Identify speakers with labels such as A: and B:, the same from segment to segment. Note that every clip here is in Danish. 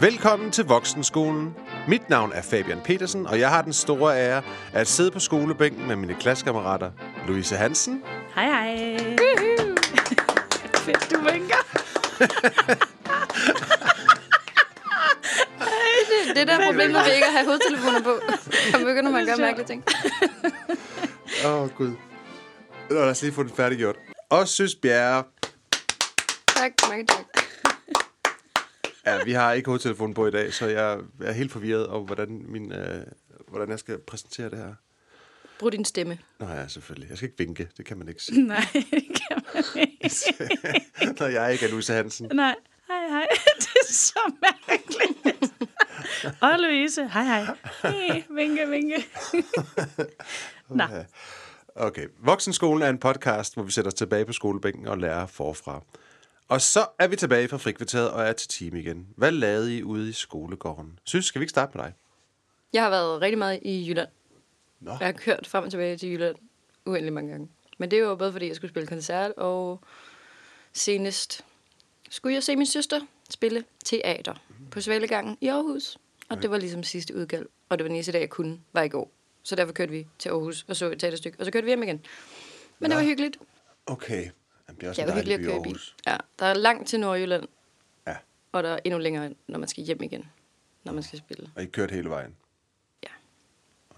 A: Velkommen til Voksenskolen. Mit navn er Fabian Petersen, og jeg har den store ære at sidde på skolebænken med mine klassekammerater Louise Hansen
B: Hej, hej. Fedt, du vinker.
C: Det er der problemet ved ikke at have hovedtelefoner på. Så begynder man at gøre
B: sjovt.
C: mærkelige ting.
A: Åh, oh, Gud. Nå, lad os lige få den færdiggjort. Og Søs Bjerre.
C: Tak, mange tak.
A: Ja, vi har ikke hovedtelefonen på i dag, så jeg er helt forvirret over, hvordan, min, øh, hvordan jeg skal præsentere det her.
C: Brug din stemme.
A: Nå ja, selvfølgelig. Jeg skal ikke vinke, det kan man ikke sige.
B: Nej, det kan man ikke.
A: Når jeg ikke er Louise Hansen.
B: Nej, hej, hej. Det er så mærkeligt. Og Louise, hej, hej. Hey, vinke, vinke. Nå,
A: Okay. Voksenskolen er en podcast, hvor vi sætter os tilbage på skolebænken og lærer forfra. Og så er vi tilbage fra frikvarteret og er til time igen. Hvad lavede I ude i skolegården? Synes, skal vi ikke starte med dig?
C: Jeg har været rigtig meget i Jylland.
A: Nå.
C: Jeg har kørt frem og tilbage til Jylland uendelig mange gange. Men det var både fordi, jeg skulle spille koncert, og senest skulle jeg se min søster spille teater på Svalegangen i Aarhus. Og det var ligesom sidste udgave, og det var den eneste dag, jeg kunne, var i går. Så derfor kørte vi til Aarhus og så et teaterstykke, og så kørte vi hjem igen. Men det var hyggeligt.
A: Okay. Jamen, det Altså, er også
C: Det
A: en
C: var
A: dejlig
C: hyggeligt
A: by,
C: at køre i bil.
A: Aarhus.
C: Ja, der er langt til Nordjylland,
A: Ja,
C: Og der er endnu længere, når man skal hjem igen, når man skal spille.
A: og I kørte hele vejen.
C: Ja.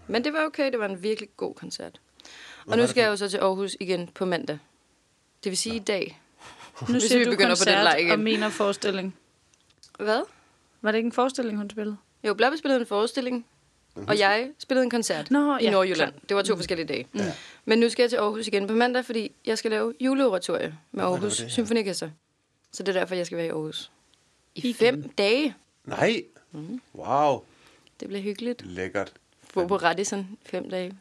C: Men det var okay, det var en virkelig god koncert.
A: var
C: Og nu
A: det
C: skal jeg jo så til Aarhus igen på mandag. Det vil sige i dag.
B: nu
C: Hvis
B: siger
C: vi
B: du
C: begynder på den
B: koncert
C: leg igen.
B: og mener forestilling.
C: Hvad?
B: Var det ikke en forestilling, hun spillede?
C: Jo, Blabbe spillede en forestilling, og jeg spillede en koncert
B: Nå,
C: i
B: ja, Mhm.
C: Nordjylland. Det var to forskellige dage. Ja. Men nu skal jeg til Aarhus igen på mandag, fordi jeg skal lave juleoratorie med Aarhus
A: det, ja.
C: Symfoniorkester. Så det er derfor, jeg skal være i Aarhus. I fem dage.
A: Nej.
C: Mhm.
A: Wow.
C: Det bliver hyggeligt.
A: Lækkert.
C: Bo på Radisson i fem dage.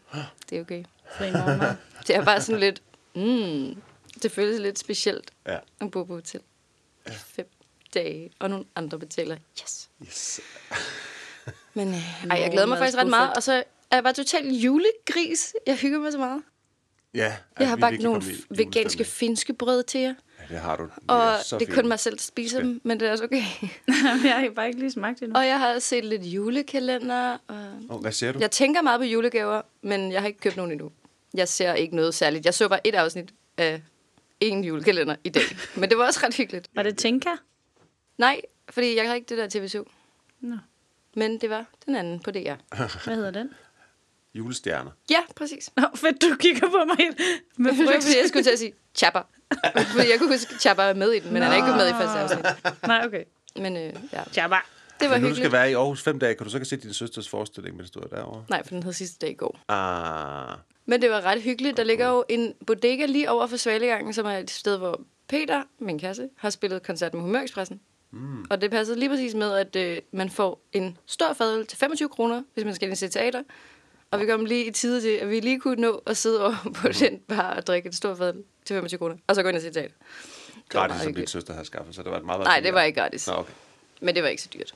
C: Det er okay.
B: Fri morgenmad.
C: Det er bare sådan lidt, mm, det føles lidt specielt
A: Ja.
C: at bo på hotel. I fem dage, og nogle andre betaler. Yes.
A: Yes.
C: Men øh, ej, jeg glæder mig faktisk ret meget, og så er jeg bare totalt julegris. Jeg hygger mig så meget.
A: Ja.
C: Jeg har bagt nogle veganske finske brød til jer,
A: Ja, det har du.
C: og
A: er så
C: det er kun
A: fint.
C: mig selv, der spiser dem, men det er også okay.
B: jeg har bare ikke lige smagt det endnu.
C: og jeg har også set lidt julekalender, og
A: Åh, Hvad siger du?
C: Jeg tænker meget på julegaver, men jeg har ikke købt nogen endnu. Jeg ser ikke noget særligt. Jeg så bare et afsnit af en julekalender i dag. Men det var også ret hyggeligt.
B: Var det Tinka?
C: Nej, fordi jeg har ikke det der TV2.
B: Nå.
C: Men det var den anden på DR.
B: Hvad hedder den?
A: Julestjerner.
C: Ja, præcis.
B: Nå, fedt, du kigger på mig helt med
C: Det var fordi, jeg
B: frygt.
C: skulle til at sige Chapper. Fordi jeg kunne huske, at Chapper er med i den, men han er ikke med i første afsnit.
B: Nej, okay.
C: Men øh, ja,
B: Jabba.
C: det
A: Når du
C: var
A: skal
C: hyggeligt.
A: være i Aarhus fem dage, kan du så ikke se din søsters forestilling, mens du er derovre?
C: Nej, for den hed sidste dag i går.
A: Ah.
C: Men det var ret hyggeligt. Der ligger jo en bodega lige over for Svalegangen, som er et sted, hvor Peter, min kasse, har spillet koncert med Humørekspressen. Mm. Og det passede lige præcis med, at øh, man får en stor fadøl til 25 kroner, hvis man skal ind og se teater. Og vi kom lige i tide til, at vi lige kunne nå at sidde over på den bar og drikke en stor fadøl til 25 kroner, og så gå ind og se teater. Det var meget
A: gratis, som din
C: hyggeligt.
A: søster havde skaffet, så det var et meget, meget
C: Nej,
A: billigt
C: det var
A: arbejde.
C: ikke gratis.
A: Nå, okay.
C: Men det var ikke så dyrt.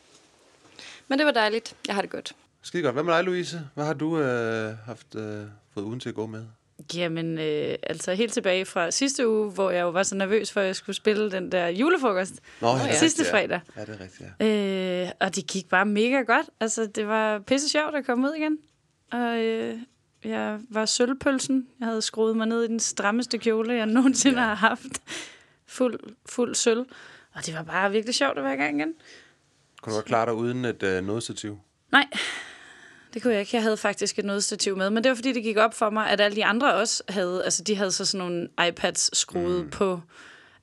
C: Men det var dejligt. Jeg har det godt.
A: Skide godt. Hvad med dig, Louise? Hvad har du øh, haft, øh, fået ugen til at gå med?
B: Jamen, øh, altså helt tilbage fra sidste uge, hvor jeg jo var så nervøs for, at jeg skulle spille den der julefrokost
C: ja.
B: sidste
A: ja.
B: fredag.
A: Ja, det er rigtigt, ja.
B: Øh, og det gik bare mega godt. Altså, det var pisse sjovt at komme ud igen. Og øh, jeg var sølvpølsen. Jeg havde skruet mig ned i den strammeste kjole, jeg nogensinde har haft. Fuld, fuld sølv. Og det var bare virkelig sjovt at være i gang igen.
A: Kunne du godt klare dig uden et øh, nødstativ?
B: Nej, det kunne jeg ikke. Jeg havde faktisk et nødstativ med, men det var fordi, det gik op for mig, at alle de andre også havde, altså de havde så sådan nogle iPads skruet mm. på,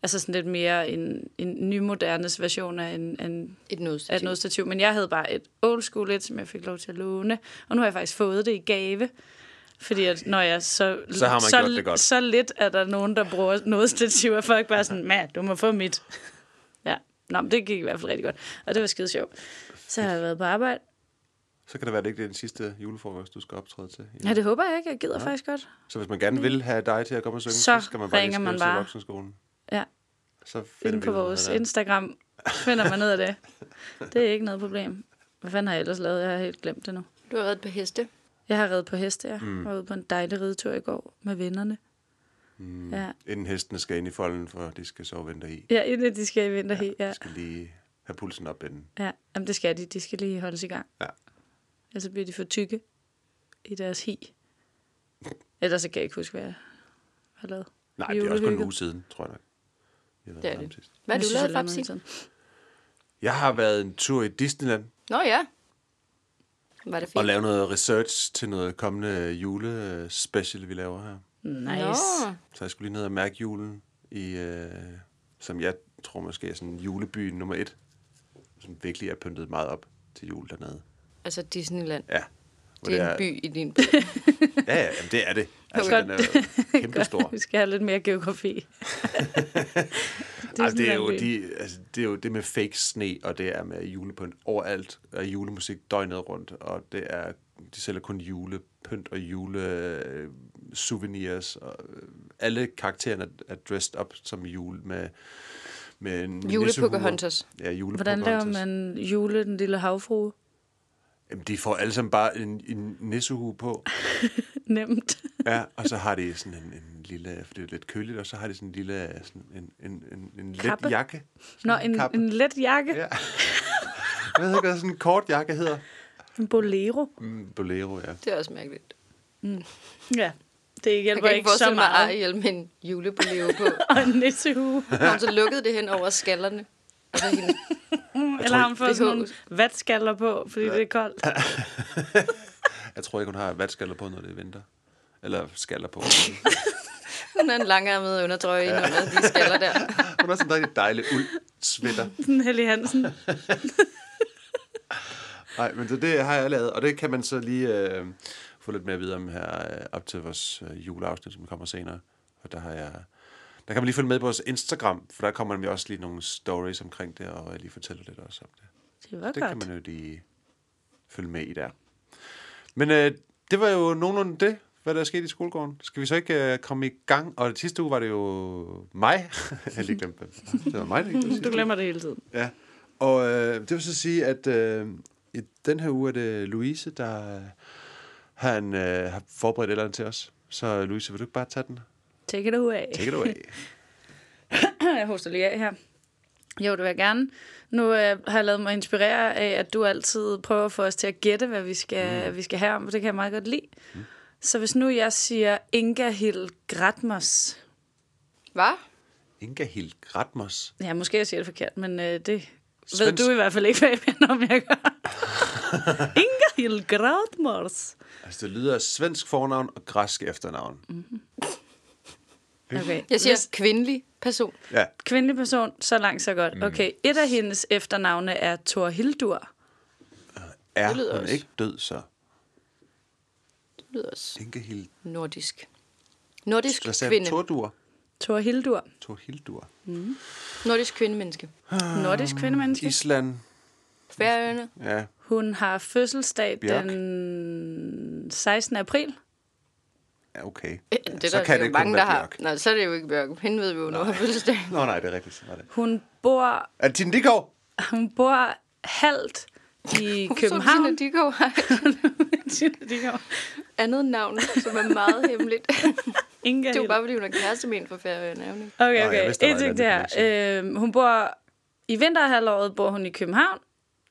B: altså sådan lidt mere en, en nymodernes version af en, en
C: Et
B: af et
C: nødstativ.
B: nødstativ, men jeg havde bare et old school et, som jeg fik lov til at låne, og nu har jeg faktisk fået det i gave. Fordi at når jeg så,
A: Så har man
B: så,
A: gjort det godt.
B: så lidt er der nogen, der bruger noget stativ, og folk bare sådan, mand, du må få mit. Ja, Nå, men det gik i hvert fald rigtig godt, og det var skide sjovt. Så har jeg været på arbejde,
A: Så kan det være, at det ikke er den sidste julefrokost, du skal optræde til.
B: Ja, det håber jeg ikke. Jeg gider ja. faktisk godt.
A: Så hvis man gerne vil have dig til at komme og synge, så,
B: Så
A: skal man bare lige
B: ringer man
A: skrive til
B: bare.
A: voksenskolen.
B: Ja,
A: Så finder
B: inde
A: vi
B: på
A: ud af
B: vores
A: det.
B: Instagram finder man ud af det. Det er ikke noget problem. Hvad fanden har jeg ellers lavet? Jeg har helt glemt det nu.
C: Du har været på heste.
B: Jeg har reddet på heste, jeg mm. var ude på en dejlig ridetur i går med vennerne. Mm. Ja.
A: Inden hestene skal ind i folden, for de skal sove og vente i.
B: ja, inden de skal i vinterhi. Ja.
A: skal lige have pulsen op inden.
B: Ja, jamen det skal de. De skal lige holdes i gang.
A: Ja.
B: Ellers så bliver de for tykke i deres hi. Ellers så kan jeg ikke huske, hvad jeg har lavet.
A: Nej, det er også kun en
B: Julehygget.
A: uge siden, tror jeg nok. vi har været
C: Det er
A: sammen
C: det.
A: sidst.
C: Hvad har
B: Jeg
C: du
B: synes,
C: lavet,
B: jeg lavede
C: Fabsi?
B: noget
A: Jeg har været en tur i Disneyland
C: Nå ja. Var det
A: og
C: fint?
A: lavet noget research til noget kommende julespecial, vi laver her.
B: sådan. Nice.
C: Nå.
A: Så jeg skulle lige ned og mærke julen i, øh, som jeg tror måske er sådan juleby nummer et, som virkelig er pyntet meget op til jul dernede.
C: Altså Disneyland.
A: Ja. Hvor
C: Det er en by i din by.
A: Ja, ja, jamen, det er det. Altså,
B: Godt.
A: den er jo kæmpe stor.
B: Vi skal have lidt mere geografi.
A: Det er, altså, det, er jo,
B: Disneyland-by.
A: de, altså, det er jo det med fake sne, og det er med julepynt overalt, og julemusik døgnet rundt, og det er, de sælger kun julepynt og jule øh, souvenirs, og øh, alle karaktererne er- er dressed up som jule med, med en nissehue.
C: Julepocahontas.
A: Ja, jule
B: Hvordan laver man jule, den lille havfrue?
A: Jamen, de får alle sammen bare en, en nissehue på,
B: Nemt.
A: ja, og så har de sådan en, en lille, for det er jo lidt køligt, og så har de sådan en lille, sådan en, en, en, en let
B: Kappe?
A: jakke.
B: Nå,
A: Sådan
B: en,
A: kappe.
B: en let jakke.
A: Ja. Jeg ved ikke, hvad sådan en kort jakke hedder.
B: En bolero.
A: Mm, Bolero, ja.
C: Det er også mærkeligt.
B: Ja, det
C: Jeg
B: hjælper
C: kan
B: ikke
C: ikke
B: så
C: forestille mig
B: meget.
C: Ariel med en julebeleve på.
B: Og en nissehue.
C: Har hun så lukket det hen over skallerne? Og så hende.
B: Mm, Eller har hun
C: det
B: fået sådan nogle
C: kan
B: vatskaller på, fordi det er koldt.
A: Jeg tror ikke, hun har vatskaller på, når det er vinter. Eller skaller på.
C: Hun har en langærmet undertrøje ind under de skaller der.
A: Hun har sådan en rigtig dejlig uld sweater.
B: Sådan Helly Hansen.
A: Nej, men så det har jeg lavet, og det kan man så lige øh, få lidt mere at vide om her øh, op til vores øh, juleafsnit, som kommer senere. Og der har jeg... Der kan man lige følge med på vores Instagram, for der kommer nemlig også lige nogle stories omkring det, og jeg lige fortæller lidt også om det.
B: Det var
A: Det kan
B: godt.
A: man jo lige følge med i der. Men øh, det var jo nogenlunde det, hvad der er sket i skolegården. Skal vi så ikke øh, komme i gang? Og det sidste uge var det jo mig. jeg har lige glemt, hvem det var. det var mig, der gik det sidste
B: Du glemmer det hele tiden.
A: Ja, og øh, det vil så sige, at øh, i den her uge er det Louise, der øh, har, en, øh, har forberedt et eller andet til os. Så Louise, vil du ikke bare tage den?
B: Take it away.
A: Take it away.
B: jeg hoster lige af her. Jo, det vil jeg gerne. Nu øh, har jeg lavet mig inspirere af, at du altid prøver at få os til at gætte, hvad vi skal, mm. vi skal have om, for det kan jeg meget godt lide. Mm. Så hvis nu jeg siger Inga Hill Gratmos,
C: Hvad?
A: Inga Hild Gratmos.
B: ja, måske jeg siger det forkert, men øh, det
A: Svensk.
B: ved du i hvert fald ikke, hvad jeg, om jeg gør. Inga Hill Gratmos.
A: Altså, det lyder svensk fornavn og græsk efternavn. Mm.
B: Okay.
C: Jeg siger kvindelig person.
A: Ja,
B: Kvindelig person, så langt, så godt. Okay, et af hendes efternavne er Thor Hildur.
A: er
C: Det lyder
A: hun
C: også-
A: ikke død så?
C: Det lyder også
A: Inga Hild...
C: nordisk. Nordisk
A: Hvad sagde
C: kvinde.
A: du? Tordur?
B: Thor Hildur.
A: Torhildur.
C: Nordisk kvindemenneske.
B: Nordisk kvindemenneske.
A: Island.
C: Færøerne.
A: Ja.
B: Hun har fødselsdag
A: Bjørk.
B: den 16. april.
A: ja, okay.
C: Øh,
A: Ja,
C: Det er der, det er jo
A: kun
C: mange,
A: være
C: der har.
A: Bjørk.
C: Nej, så er det jo ikke Bjørk. Hende ved vi jo, når hun har fødselsdag.
A: Nå, nej, det er rigtigt. Sådan Er det.
B: Hun bor,
A: Er det Tine Dikov?
B: hun bor halvt i København.
C: Så de går andet navn, som er meget hemmeligt.
B: Inga
C: Det er jo
B: Hild.
C: bare, fordi hun er kæreste med en fra Færøerne. er hun ikke?
B: Okay,
A: Nå, jeg
B: okay.
A: vidste, der var
B: Et
A: et
B: ting det
A: eller
B: her.
A: andet
B: Øhm, hun bor i vinterhalvåret bor hun i København,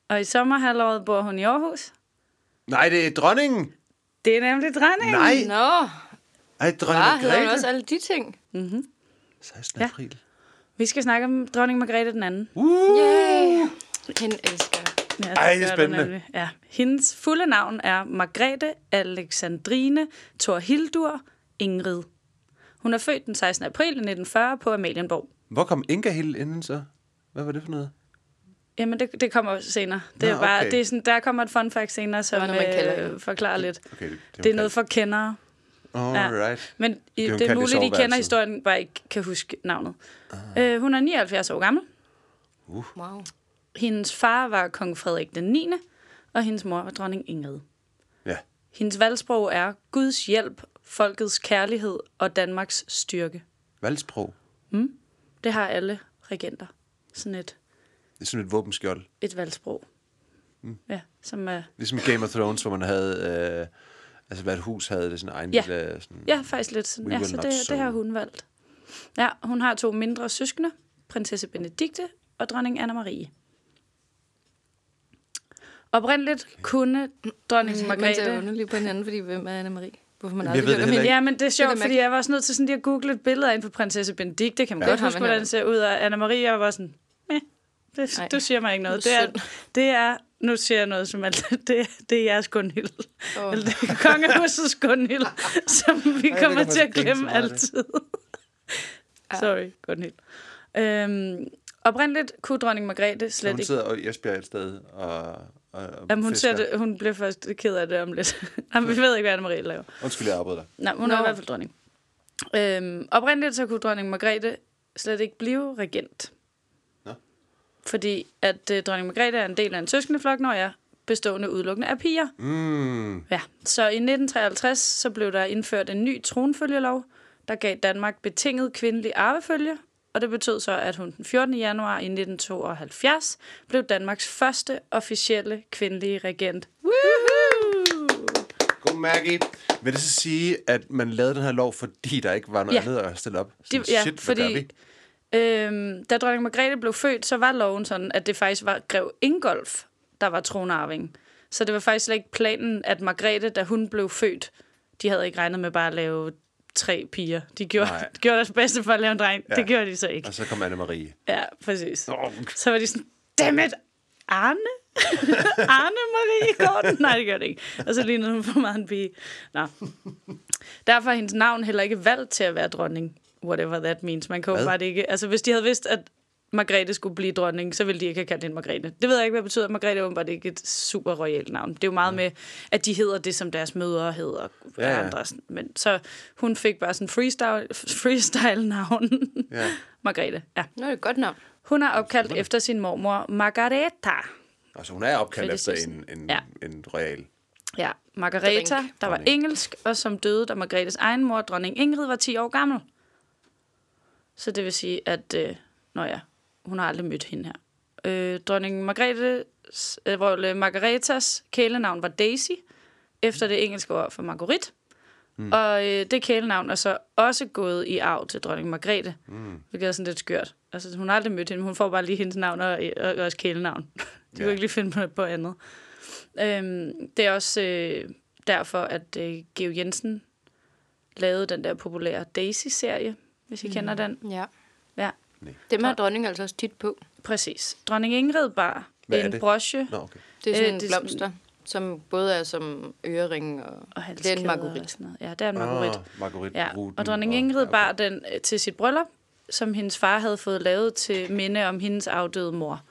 B: og i sommerhalvåret bor hun i Aarhus.
A: Nej, det er dronningen.
B: Det er nemlig dronningen.
A: Nej,
C: Nå,
A: Ej, dronning
C: bare hedder hun
A: Margrethe.
C: også alle de ting.
A: 16. Ja. april.
B: Vi skal snakke om dronning Margrethe den anden.
A: Uh!
C: Yay! Hende elsker jeg.
B: Ja,
A: Ej, det er
B: gør der
A: spændende.
B: nemlig. Ja. Hendes fulde navn er Margrethe Alexandrine Thorhildur Ingrid. Hun er født den 16. april 1940 på Amalienborg.
A: Hvor kom Inga Hill inden så? Hvad var det for noget?
B: Jamen, det, det kommer senere. Det
A: Nå,
B: er bare,
A: okay.
B: det er sådan, der kommer et fun fact senere, som
C: var noget, man kalder hende.
B: øh, forklarer lidt.
A: Okay, det,
B: Det er noget for kendere.
A: Alright.
B: Men i,
A: Det er jo
B: det er
A: kaldt i
B: muligt, I kender
A: soveværelset. Ah.
B: historien, bare ikke kan huske navnet. Øh, hun er 79 år gammel.
C: Wow.
B: Hendes far var kong Frederik den 9., og hendes mor var dronning Ingrid.
A: Ja.
B: Hendes valgsprog er Guds hjælp, folkets kærlighed og Danmarks styrke.
A: Valgsprog.
B: Det har alle regenter. Sådan et,
A: Det er sådan et våbenskjold.
B: et valgsprog. Mm. Ja, som er,
A: Ligesom i Game of Thrones, hvor man havde... Øh, altså, hvert hus havde det sin egen
B: Ja.
A: lille... øh, Sådan,
B: ja, faktisk lidt sådan.
A: We
B: Ja,
A: will
B: så
A: not
B: det,
A: sow.
B: det har hun valgt. Ja, hun har to mindre søskende, prinsesse Benedikte og dronning Anna Marie. Oprindeligt kunne dronning
C: Man kan til at
B: Margrethe...
C: underlige på hinanden, fordi hvem er Anne-Marie? Hvorfor man
A: Jeg
C: aldrig
A: ved det
C: hørt om
A: heller
C: hende?
A: ikke.
B: Ja, men det er
C: Det
B: sjovt,
C: er
B: fordi jeg var også nødt til sådan lige at google et billede af en på prinsesse Benedikte. Kan man
C: Ja.
B: ja, godt
C: Det har
B: huske,
C: man
B: hvordan
C: heller
B: det ser ud. Og Anna-Marie jeg var sådan, Meh, det,
C: Nej.
B: du siger mig ikke noget.
C: Det
B: Det
C: er
B: er, det er, nu siger jeg noget, som er, det, er- det er jeres Gunhild.
C: Åh.
B: Oh. Eller det er kongehusets Gunhild, som vi
A: ved ikke,
B: kommer
A: om
B: til
A: jeg
B: at
A: skal grine så
B: glemme
A: meget af det.
B: altid. Sorry, Gunhild. Øhm, oprindeligt kunne dronning Margrethe
A: Så
B: slet
A: hun
B: ikke
A: sidder og Esbjerg et sted og, og, og
B: Jamen, hun,
A: fisker.
B: ser det, hun bliver først ked af det om lidt. Jamen, vi ved ikke, hvad Anne-Marie laver.
A: Undskyld, jeg afbryder dig.
B: Nej, hun
C: Nå.
B: er i hvert fald dronning. Øhm, oprindeligt så kunne dronning Margrethe slet ikke blive regent.
A: Nå.
B: Fordi at øh, dronning Margrethe er en del af en søskendeflok, når jeg bestående udelukkende af piger.
A: Mm.
B: Ja, så i 1953 så blev der indført en ny tronfølgelov, der gav Danmark betinget kvindelig arvefølge, og det betød så, at hun den 14. januar i 1972 blev Danmarks første officielle kvindelige regent.
A: God Maggie. Vil det så sige, at man lavede den her lov, fordi der ikke var noget ja.
B: Ja.
A: andet at stille op? Sådan,
B: Det, ja,
A: shit, fordi... hvad gør
B: fordi
A: vi?
B: øhm, da dronning Margrethe blev født, så var loven sådan, at det faktisk var grev Ingolf, der var tronarving. Så det var faktisk slet ikke planen, at Margrethe, da hun blev født, de havde ikke regnet med bare at lave tre piger. De gjorde,
A: Nej.
B: gjorde deres bedste for at lave en dreng.
A: Ja.
B: Ja. Det gjorde de så ikke.
A: Og så kom Anne-Marie.
B: Ja, præcis.
A: Åh,
B: Så var de sådan, dammit, Arne? Arne Marie Gordon? Nej, det gør det ikke. Og så lignede hun for meget en pige. Nå. Derfor er hendes navn heller ikke valgt til at være dronning. Whatever that means. Man kan jo
A: Hvad?
B: bare det ikke... Altså, hvis de havde vidst, at Margrethe skulle blive dronning, så ville de ikke have kaldt hende Margrethe. Det ved jeg ikke, hvad det betyder. Margrethe er åbenbart ikke et super royalt navn. Det er jo meget med, at de hedder det, som deres mødre hedder.
A: Mm. Ja, ja.
B: Ja. Andre. sådan. Men, så hun fik bare sådan freestyle, freestyle-navn.
A: Ja.
B: Margrethe, ja.
C: Nå, det er et godt navn.
B: Hun er opkaldt efter sin mormor, Margareta.
A: Altså, hun er opkaldt
B: Fordi
A: efter en,
B: sidst-
A: en, ja.
B: Ja.
A: en royal.
B: Ja, Margareta,
C: Drink.
B: der var
A: Dronning.
B: engelsk, og som døde, da Margrethes egen mor, dronning Ingrid, var 10 år gammel. Så det vil sige, at øh, nå ja, hun har aldrig mødt hende her. Øh, dronning Margrethes, øh, hvor, øh, Margaretas kælenavn var Daisy, efter det engelske ord for Marguerite. Mm. Og øh, det kælenavn er så også gået i arv til dronning Margrethe, mm. hvilket er sådan lidt skørt. Altså, hun har aldrig mødt hende, men hun får bare lige hendes navn og, og, og også kælenavn. De ja.
A: Ja.
B: kunne ikke lige finde på, på andet. Øhm, det er også øh, derfor, at øh, Geo Jensen lavede den der populære Daisy-serie, hvis I mm. kender den.
C: Ja.
B: Ja,
C: Dem har dronningen altså også tit på. præcis.
B: præcis. Dronning Ingrid bar
A: Hvad er
B: en
A: det?
B: broche
A: Nå, okay.
C: Det
B: Øh,
C: er sådan en
B: det er sådan-
C: blomster, som både er som øreringe og...
B: og
C: det er en
B: halskæder og
C: marguerite.
B: sådan noget. Ja, det er en marguerite.
A: Ah, Marguerite
B: Ja,
A: Ruten
B: og dronning Ingrid
A: ja,
B: bar den øh, til sit bryllup, som hendes far havde fået lavet til minde om hendes afdøde mor.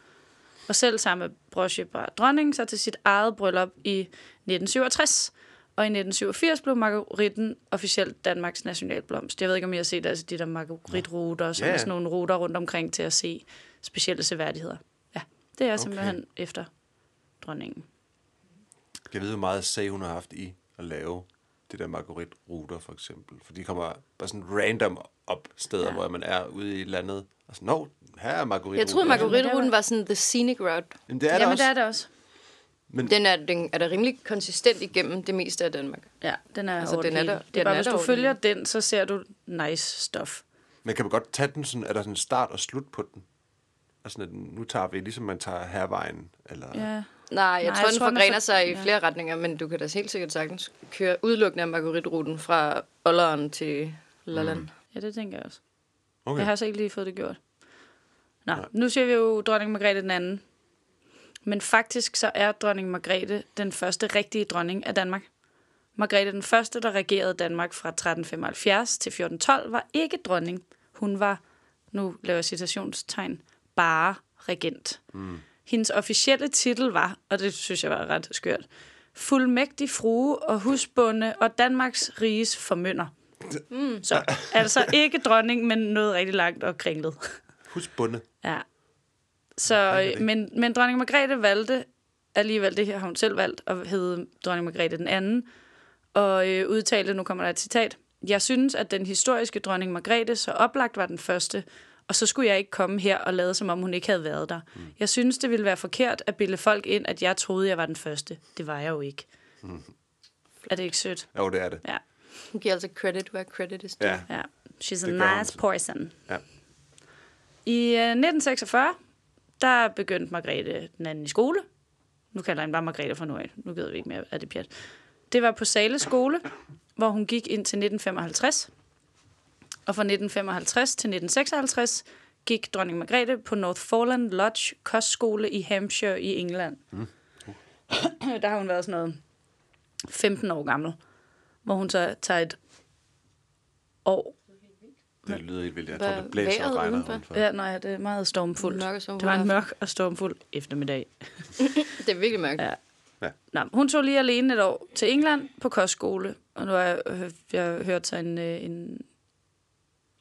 B: Og selv samme broche bar dronningen så til sit eget bryllup i 1967. Og i 1987 blev margaritten officielt Danmarks nationalblomst. Jeg ved ikke, om I har set altså, de der margaritruter, som
A: Ja,
B: yeah.
A: ja.
B: er sådan nogle ruter rundt omkring til at se specielle seværdigheder. Ja, det er simpelthen efter dronningen.
A: Jeg ved, hvor meget sag hun har haft i at lave det der Marguerite-ruter, for eksempel. For de kommer bare sådan random op steder, ja. hvor man er ude i landet. Og sådan, nå, her er Marguerite
C: Jeg troede,
B: Marguerite-
C: margueriteruten var sådan the scenic route.
A: Jamen, det er
B: Jamen,
A: der også.
B: det er det også.
C: Den er, den er da rimelig konsistent igennem det meste af Danmark.
B: Ja, den er
C: Altså,
B: altså,
C: den
B: den
C: er der-
B: Det er
C: den
B: bare,
C: er
B: hvis
C: der
B: du
C: over
B: følger den, så ser du nice stuff.
A: Men kan man godt tage den sådan, er der sådan start og slut på den? Altså, sådan, at nu tager vi, ligesom man tager hervejen, eller...
B: Ja.
C: Nej, jeg Nej, tror,
B: jeg
C: den
B: tror, den er
C: forgrener
B: for-
C: sig i
B: ja.
C: flere retninger, men du kan da helt sikkert sagtens køre udelukkende af margueriteruten fra Olleren til Lolland. Mm.
B: ja, det tænker jeg også. Okay.
A: Okay.
B: Jeg har så ikke lige fået det gjort. Nå, Nej. nu ser vi jo dronning Margrethe den anden. Men faktisk så er dronning Margrethe den første rigtige dronning af Danmark. Margrethe den første, der regerede Danmark fra 1375 til 1412, var ikke dronning. Hun var, nu laver jeg citationstegn, bare regent. Mm. Hendes officielle titel var, og det synes jeg var ret skørt, fuldmægtig frue og husbonde og Danmarks riges formynder. Mm. Så altså ikke dronning, men noget rigtig langt og kringlet.
A: Husk bunde.
B: Ja. Så, øh, men, men dronning Margrethe valgte alligevel, det her har hun selv valgt, at hedde dronning Margrethe den anden, og øh, udtalte, nu kommer der et citat, jeg synes, at den historiske dronning Margrethe så oplagt var den første, og så skulle jeg ikke komme her og lade, som om hun ikke havde været der. Mm. Jeg synes, det ville være forkert at bilde folk ind, at jeg troede, jeg var den første. Det var jeg jo ikke. Mm. Er det ikke sødt?
A: Jo, det er det.
B: Ja.
C: Hun giver altså credit where credit is due.
A: Ja.
B: ja. She's
A: Det gør hun
B: a nice
A: så.
B: person.
A: ja.
B: I øh, 1946, der begyndte Margrethe den anden i skole. Nu kalder jeg hende bare Margrethe fra nu af. Nu gider vi ikke mere af det pjat. Det var på Sale skole, hvor hun gik ind til 1955. Og fra 1955 til 1956 gik dronning Margrethe på Northforeland Lodge kostskole i Hampshire i England. Mm. Der har hun været sådan noget 15 år gammel, hvor hun så tager et år
A: Det lyder helt vildt. Jeg
C: Hvad
A: tror, det blæser og
C: vejret
A: regner
C: udenfor?
A: udenfor.
B: Ja, nej, det er meget stormfuldt.
C: Mørk og stormfuld
B: det var en
C: aften.
B: mørk og stormfuld eftermiddag.
C: Det er virkelig mørkt.
B: Ja.
C: Ja.
B: Nå, men hun tog lige alene et år til England på kostskole, og nu har jeg, øh, jeg har hørt så en, øh, en,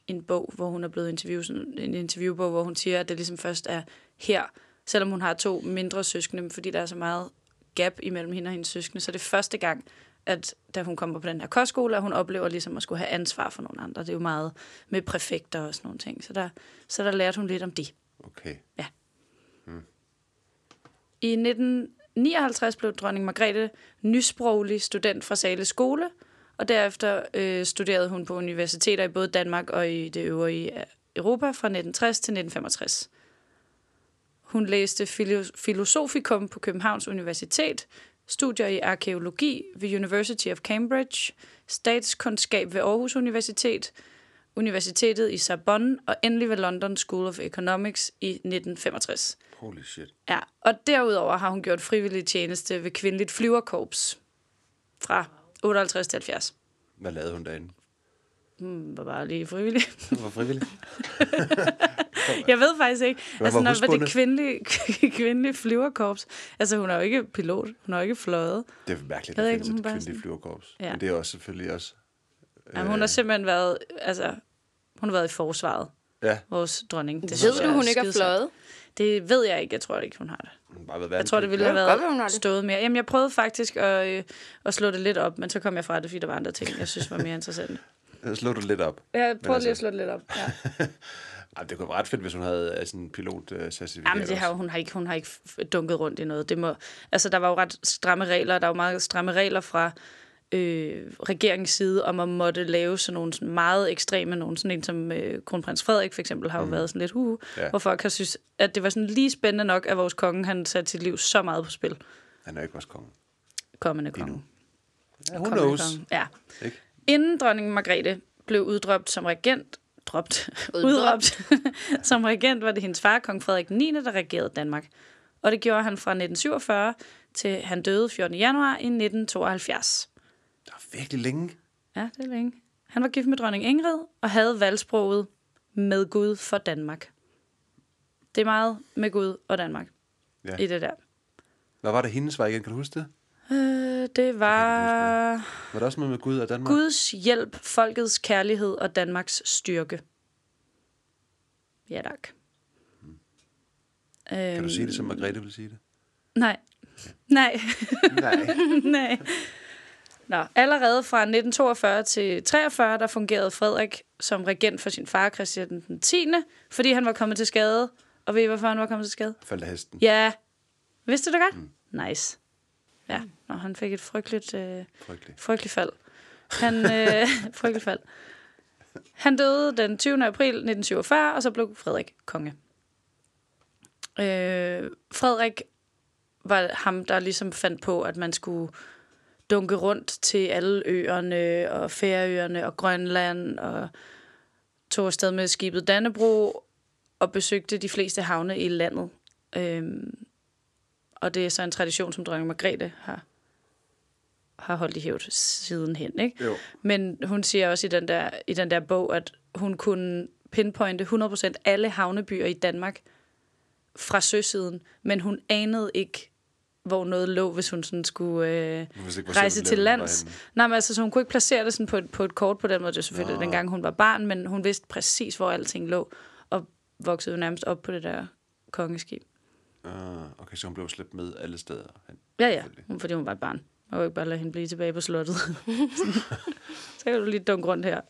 B: en bog, hvor hun er blevet interviewet, sådan en interviewbog, hvor hun siger, at det ligesom først er her, selvom hun har to mindre søskende, men fordi der er så meget gap imellem hende og hendes søskende, så det er første gang, at da hun kommer på den her kostskole, at hun oplever ligesom at skulle have ansvar for nogle andre. Det er jo meget med præfekter og sådan nogle ting, så der, så der lærte hun lidt om det.
A: Okay.
B: I 1959 blev dronning Margrethe nysproglig student fra Sale Skole, og derefter øh, studerede hun på universiteter i både Danmark og i det øvrige øh, Europa fra 1960 til 1965. Hun læste filo- filosofikum på Københavns Universitet, studier i arkeologi ved University of Cambridge, statskundskab ved Aarhus Universitet, Universitetet i Sorbonne og endelig ved London School of Economics i 1965.
A: Holy shit.
B: Ja, og derudover har hun gjort frivillig tjeneste ved Kvindeligt Flyverkorps fra 58 til 70.
A: Hvad lavede hun derinde?
B: Hun var bare lige frivillig.
A: Hun var frivillig.
B: Jeg ved faktisk ikke.
A: var
B: altså, når var
A: husbonde.
B: det kvindelige, kvindelige flyverkorps? Altså, hun er jo ikke pilot. Hun har jo ikke fløjet.
A: Det er mærkeligt, at
B: Jeg ved
A: der
B: ikke,
A: findes
B: om
A: et
B: hun bare
A: kvindeligt
B: sådan-
A: flyverkorps.
B: Ja.
A: Men det er også selvfølgelig også...
B: Jamen,
A: Øh.
B: hun har simpelthen været... Altså, hun har været i forsvaret.
A: Ja,
B: Vores dronning. Det synes
C: Ved
B: jeg
C: du,
B: er
C: hun ikke har
B: skidesejt.
C: fløjet?
B: Det ved jeg ikke. Jeg tror ikke, hun har det.
A: hun har bare været
B: Jeg tror, det ville
A: værnepligtig.
B: have
C: Det kan godt være,
B: været
C: hun har det.
B: stået mere. Jamen, jeg prøvede faktisk at, øh, at slå det lidt op, men så kom jeg fra det, fordi der var andre ting, jeg synes var mere interessante.
A: Ja, Slå det lidt op.
B: Jeg prøvede
A: altså-
B: lige at slå det lidt op. Ja.
A: Ej, det kunne være ret fedt, hvis hun havde øh, sådan en pilotcertifikat.
B: Jamen, det har, jo- hun, har ikke, hun har ikke f- dunket rundt i noget. Det må, altså, der var jo ret stramme regler, og der var meget stramme regler fra øh, regeringens side, om at måtte lave sådan nogle sådan meget ekstreme, nogle sådan en som øh, kronprins Frederik for eksempel, har jo mm. været sådan lidt huhu,
A: Ja.
B: ja. hvor folk har synes, at det var sådan lige spændende nok, at vores konge, han satte sit liv så meget på spil.
A: Han er jo ikke vores konge.
B: Kommende konge.
A: Ja, who
B: Kommende
A: knows?
B: konge. Ja.
A: Ikke?
B: Inden dronning Margrethe blev uddrøbt som regent, dropt,
C: Udråbt.
B: udråbt som regent, var det hendes far, kong Frederik 9., der regerede Danmark. Og det gjorde han fra 1947 til han døde 14. januar i 1972.
A: Det var virkelig længe.
B: Ja, det er længe. Han var gift med dronning Ingrid og havde valgsproget med Gud for Danmark. Det er meget med Gud og Danmark
A: Ja.
B: i det der.
A: Hvad var det hendes var igen? Kan du huske det?
B: Øh, det var
A: Var det også noget med Gud og Danmark?
B: Guds hjælp, folkets kærlighed og Danmarks styrke. Ja, tak. Øhm,
A: Kan du sige det,
C: Øhm.
A: som Margrethe ville sige det?
B: Nej. Nej.
A: Nej.
B: Nej. Nå, allerede fra 1942 til 43 der fungerede Frederik som regent for sin far, Christian den 10., fordi han var kommet til skade. Og ved I, hvorfor han var kommet til skade?
A: Faldt af hesten.
B: Ja. Vidste du det godt? Mm. Nice. Ja, og han fik et frygteligt... Øh,
A: Frygteligt.
B: Frygtelig fald. Han, øh, frygtelig fald. Han døde den 20. april 1947, og så blev Frederik konge. Øh, Frederik var ham, der ligesom fandt på, at man skulle dunke rundt til alle øerne og Færøerne og Grønland og tog afsted med skibet Dannebro og besøgte de fleste havne i landet. Øhm, og det er så en tradition, som dronning Margrethe har har holdt i hævd sidenhen, ikke?
A: Jo.
B: Men hun siger også i den, der, i den der bog, at hun kunne pinpointe 100% alle havnebyer i Danmark fra søsiden, men hun anede ikke, hvor noget lå, hvis hun sådan skulle øh,
A: vidste ikke, hvor
B: rejse til
A: Seven-Eleven var
B: lands.
A: henne.
B: Nej, men altså, så hun kunne ikke placere det sådan på, et, på et kort på den måde. Det var selvfølgelig Nå. dengang, hun var barn, men hun vidste præcis, hvor alting lå, og voksede jo nærmest op på det der kongeskib.
A: Ah, okay, så hun blev slæbt med alle steder. hen.
B: Ja, ja, hun, fordi hun var et barn. Man kunne ikke bare lade hende blive tilbage på slottet. så kan du lige dunke rundt her.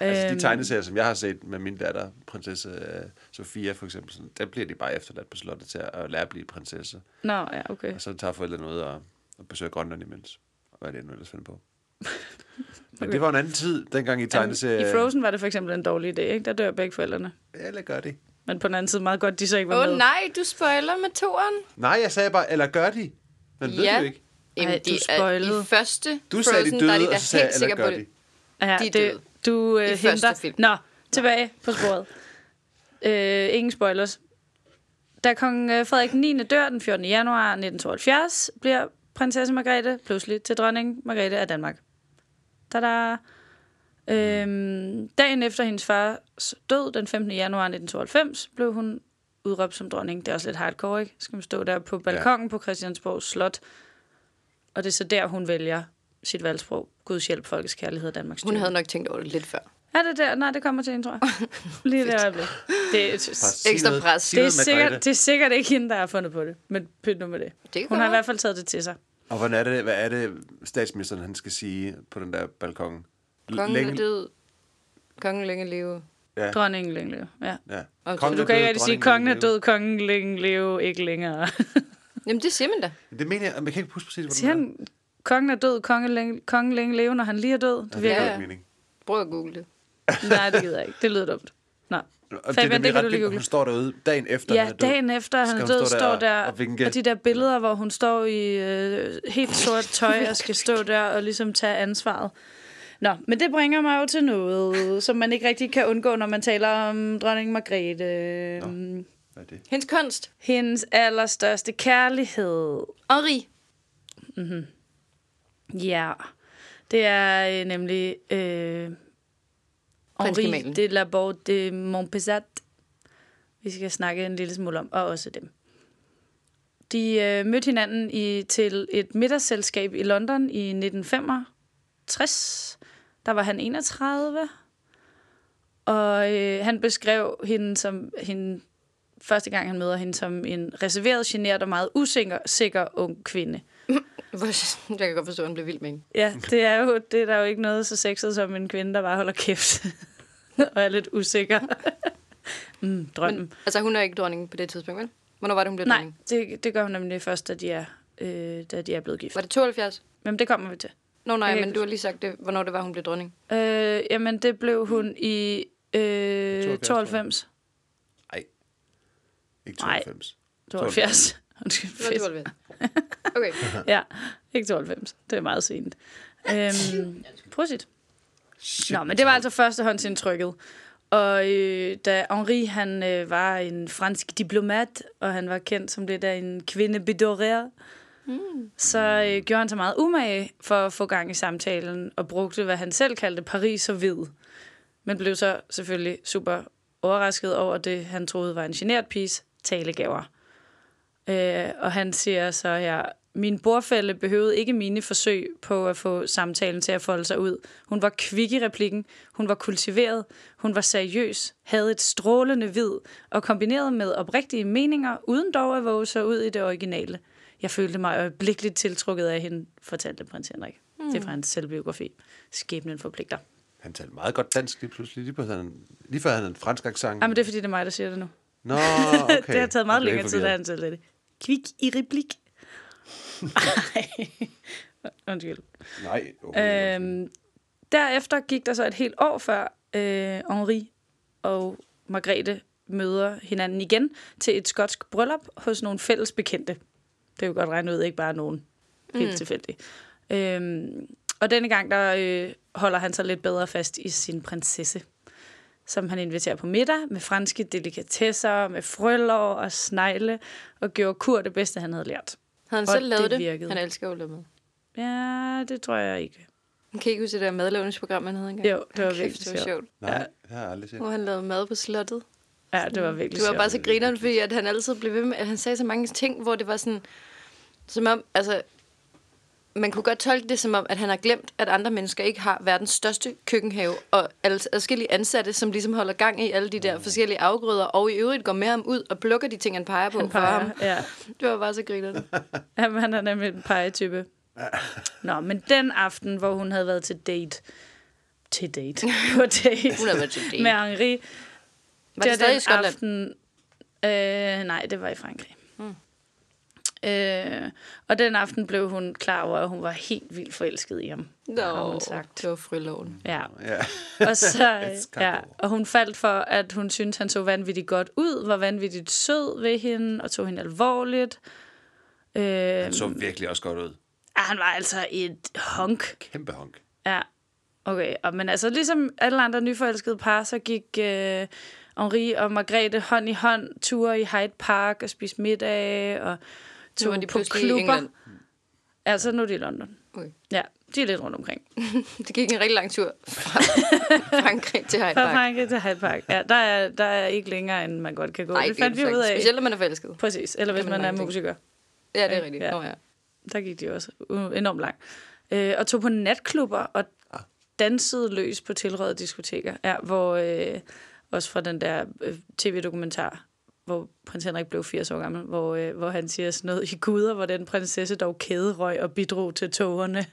A: Altså, de
C: Øhm.
A: tegneserier, som jeg har set med min datter, prinsesse øh, Sofia for eksempel, sådan, der bliver de bare efterladt på slottet til at lære at blive prinsesse.
B: Nå, ja, okay.
A: Og så tager forældrene ud og, og besøger Grønland imens. Og hvad er det nu ellers finder på? Men det var en anden tid, dengang I tegneserier...
B: I Frozen var det for eksempel en dårlig idé, ikke? Der dør begge forældrene.
A: Eller gør det.
B: Men på den anden side meget godt, de så ikke
C: Åh
B: var
C: oh,
B: med.
C: nej, du spoiler med toren.
A: Nej, jeg sagde bare, eller gør de? Men ved
C: Ja.
A: du ikke?
C: Jamen,
B: Ej,
C: de
B: du
C: er,
B: spoilede.
C: i første
A: Du sagde, de
C: Frozen,
A: døde,
C: der er de
A: og
C: da
A: så sagde jeg,
C: helt
A: eller
C: sikre
A: gør
C: på
A: de?
C: det.
B: Ja,
C: De er
B: det,
C: døde.
B: du øh,
C: I første
B: henter...
C: film.
B: Nå, tilbage på sporet. øh, ingen spoilers. Da kong øh, Frederik 9. dør den 14. januar 1972, bliver prinsesse Margrethe pludselig til dronning Margrethe af Danmark. Tada! Øhm, dagen efter hendes fars død, den 15. januar 1992, blev hun udråbt som dronning. Det er også lidt hardcore, ikke? Skal man stå der på balkongen ja. på Christiansborg Slot. Og det er så der, hun vælger sit valgsprog. Guds hjælp, folkets kærlighed og Danmarks
C: Hun
B: styrke.
C: havde nok tænkt over det lidt før.
B: Er det der? Nej, det kommer til hende, tror jeg. Lige det øjeblik. Det,
A: Bare
B: er-
A: sig
C: Ekstra
A: noget-
C: pres.
A: sig
B: det, er
A: noget,
B: sikkert,
A: Margrethe.
B: det er sikkert ikke hende, der har fundet på det. Men pyt nu med det.
C: kan
B: Hun har i
C: godt
B: hvert fald taget det til sig.
A: Og hvordan er det, hvad er det, statsministeren han skal sige på den der balkon? L-
C: Kongen længe... er død. Kongen længe leve.
A: Ja.
B: Dronningen længe leve. Ja.
A: Ja.
C: Og
A: Kongen
B: Du
A: er
B: kan
A: død,
B: ikke rigtig
A: dronningen
B: sige, kongen er
A: leve.
B: død, kongen længe leve, ikke længere.
C: Jamen, det siger man da.
A: Det mener jeg, men jeg kan ikke huske præcis,
B: Siger
A: hvordan det
B: han, kongen er død, kongen længe, kongen længe leve, når han lige er død? Det
A: er.
B: virker.
A: Ja,
C: Ja,
A: ja.
C: ja.
A: mening.
C: Prøv at google det.
B: Nej, det gider jeg ikke. Det lyder dumt. Nå.
A: Og det,
B: Fabian,
A: det, det,
B: det
A: det
B: kan
A: ret
B: du lige
A: vildt, at
B: google.
A: hun står derude dagen efter,
B: Ja,
A: han er død.
B: dagen efter han er
A: Skal hun
B: død,
A: stå
B: står
A: der
B: der,
A: og- og vinke?
B: og de der billeder, hvor hun står i øh, helt sort tøj og skal stå der og ligesom tage ansvaret. Nå, men det bringer mig jo til noget, som man ikke rigtig kan undgå, når man taler om dronning Margrethe. Nå.
A: Hvad er det?
C: Hendes kunst.
B: Hendes allerstørste kærlighed.
C: Henri.
B: Ja, det er øh, nemlig øh, Henri
C: Prinsgemalen.
B: de Laborde de Montpezat. Vi skal snakke en lille smule om, og også dem. De øh, mødte hinanden i, til et middagsselskab i London i 1965. Der var han 31, og øh, han beskrev hende som hende, første gang han møder hende som en reserveret, genert og meget usikker sikker ung kvinde.
C: Hvor- Jeg kan godt forstå, at han blev vild med hende.
B: Ja, det er jo, det er der jo ikke noget så sexet som en kvinde, der bare holder kæft og er lidt usikker. mm, drømmen. Men,
C: Altså, hun er ikke dronningen på det tidspunkt, vel? Hvornår var det, hun blev
B: Nej,
C: dronning?
B: det, det gør hun nemlig først, da de er, øh, da de er blevet gift.
C: Var det 72?
B: Men det kommer vi til.
C: Nå nej,
B: Jeg kan
C: men
B: ikke
C: du har lige sagt det, hvornår det var, hun blev dronning.
B: Øh, jamen, det blev hun i øh,
A: 72, tror jeg.
B: 92.
A: Nej. Ikke
B: Nej.
A: 92.
B: 72. Undskyld,
C: Det var
B: fedt.
C: 72. Okay.
B: Ja, ikke 92. Det er meget sent. Øhm, prosit.
A: Shit.
B: Nå, men det var altså førstehåndsindtrykket. Og øh, da Henri han øh, var en fransk diplomat, og han var kendt som lidt af en kvinde bedoreret, mm. så øh, gjorde han sig meget umage for at få gang i samtalen, og brugte, hvad han selv kaldte Paris og hvid. Men blev så selvfølgelig super overrasket over det, han troede var en genert piges talegaver. Øh, og han siger så her, min borfælde behøvede ikke mine forsøg på at få samtalen til at folde sig ud. Hun var kvik i replikken, hun var kultiveret, hun var seriøs, havde et strålende vid og kombineret med oprigtige meninger, uden dog at våge sig ud i det originale. Jeg følte mig øjeblikkeligt tiltrukket af hende, fortalte prins Henrik. Mm. Det er fra hans selvbiografi. Skæbnen forpligter.
A: Han talte meget godt dansk lige pludselig. Lige, på, han, lige før han havde en fransk accent.
B: Jamen, det er fordi, det er mig, der siger det nu.
A: Nå, okay.
B: Okay. det har taget meget
A: Jeg blev
B: længere tid, da
A: forvirret.
B: han selv det. Kvik i replik. Ej. Undskyld.
A: Nej, okay.
B: Øhm, derefter gik der så et helt år før øh, Henri og Margrethe møder hinanden igen til et skotsk bryllup hos nogle fælles bekendte. Det er jo godt regnet ud, ikke bare nogen. Helt mm. tilfældigt. Øhm, og denne gang, der øh, holder han sig lidt bedre fast i sin prinsesse, som han inviterer på middag med franske delikatesser, med frølår og snegle, og gjorde Kur det bedste, han havde lært.
C: Havde han
B: Og
C: selv lavet
B: det
C: det?
B: virkede.
C: Han elsker jo mad.
B: Ja, det tror jeg ikke.
C: Han kan I ikke huske det der madlavningsprogram, han havde engang.
B: Jo, det var
C: Kæft,
B: virkelig
C: det var sjovt.
A: Nej, det har jeg aldrig set.
C: Hvor han lavede mad på slottet.
B: Ja, det var virkelig
C: Mm. Det var
B: sjovt.
C: bare så grineren, fordi at han altid blev ved med, at han sagde så mange ting, hvor det var sådan, som om, altså, man kunne godt tolke det som om, at han har glemt, at andre mennesker ikke har verdens største køkkenhave, og altså forskellige ansatte, som ligesom holder gang i alle de der
B: Mm.
C: forskellige afgrøder, og i øvrigt går med ham ud og plukker de ting, han peger på han peger. for ham.
B: Ja.
C: Det var bare så grinerne.
B: Jamen, han er nemlig en pegetype. Nå, men den aften, hvor hun havde været til date, til date, på date,
C: Hun havde været til date.
B: med Henri,
C: Var det
B: er
C: stadig
B: den
C: i Skotland? Hmm.
B: Aften, øh, nej, det var i Frankrig. Mm. Øh, og den aften blev hun klar over, at hun var helt vildt forelsket i ham. har hun sagt.
C: det var friloven.
B: Ja.
A: Ja.
B: Og, så,
A: It's kind
B: ja,
A: of-
B: og hun faldt for, at hun syntes, han så vanvittigt godt ud, var vanvittigt sød ved hende, og tog hende alvorligt. Øh, han,
A: Så virkelig også godt ud.
B: han var altså et honk.
A: Kæmpe honk.
B: Ja, okay. Og, men altså, ligesom alle andre nyforelskede par, så gik øh, Henri og Margrethe hånd i hånd, ture i Hyde Park og spiste middag, og
C: Nu var
B: tog
C: de
B: de på
C: pludselig i
B: klubber.
C: England.
B: Altså, nu er de i London.
C: Okay.
B: Ja, de er lidt rundt omkring.
C: Det gik en rigtig lang tur fra Frankrig til Hyde
B: Fra
C: Park.
B: Frankrig til Hyde Park. Ja, der er, der er ikke længere, end man godt kan gå.
C: Nej,
B: det fandt vi ud af.
C: Specielt, når man er forelsket.
B: Præcis, eller hvis
C: Kan
B: man,
C: man
B: man er
C: mange ting.
B: musiker.
C: Ja, det er rigtigt.
B: Ja.
C: Nå, ja.
B: Der gik de også u- enormt langt. Øh, og tog på natklubber og dansede løs på tilrådede diskoteker. Ja, hvor øh, også fra den der øh, tv-dokumentar, hvor prins Henrik blev 80 år gammel, hvor, øh, hvor han siger sådan noget i guder, hvor den prinsesse dog kæderøg og bidrog til togerne.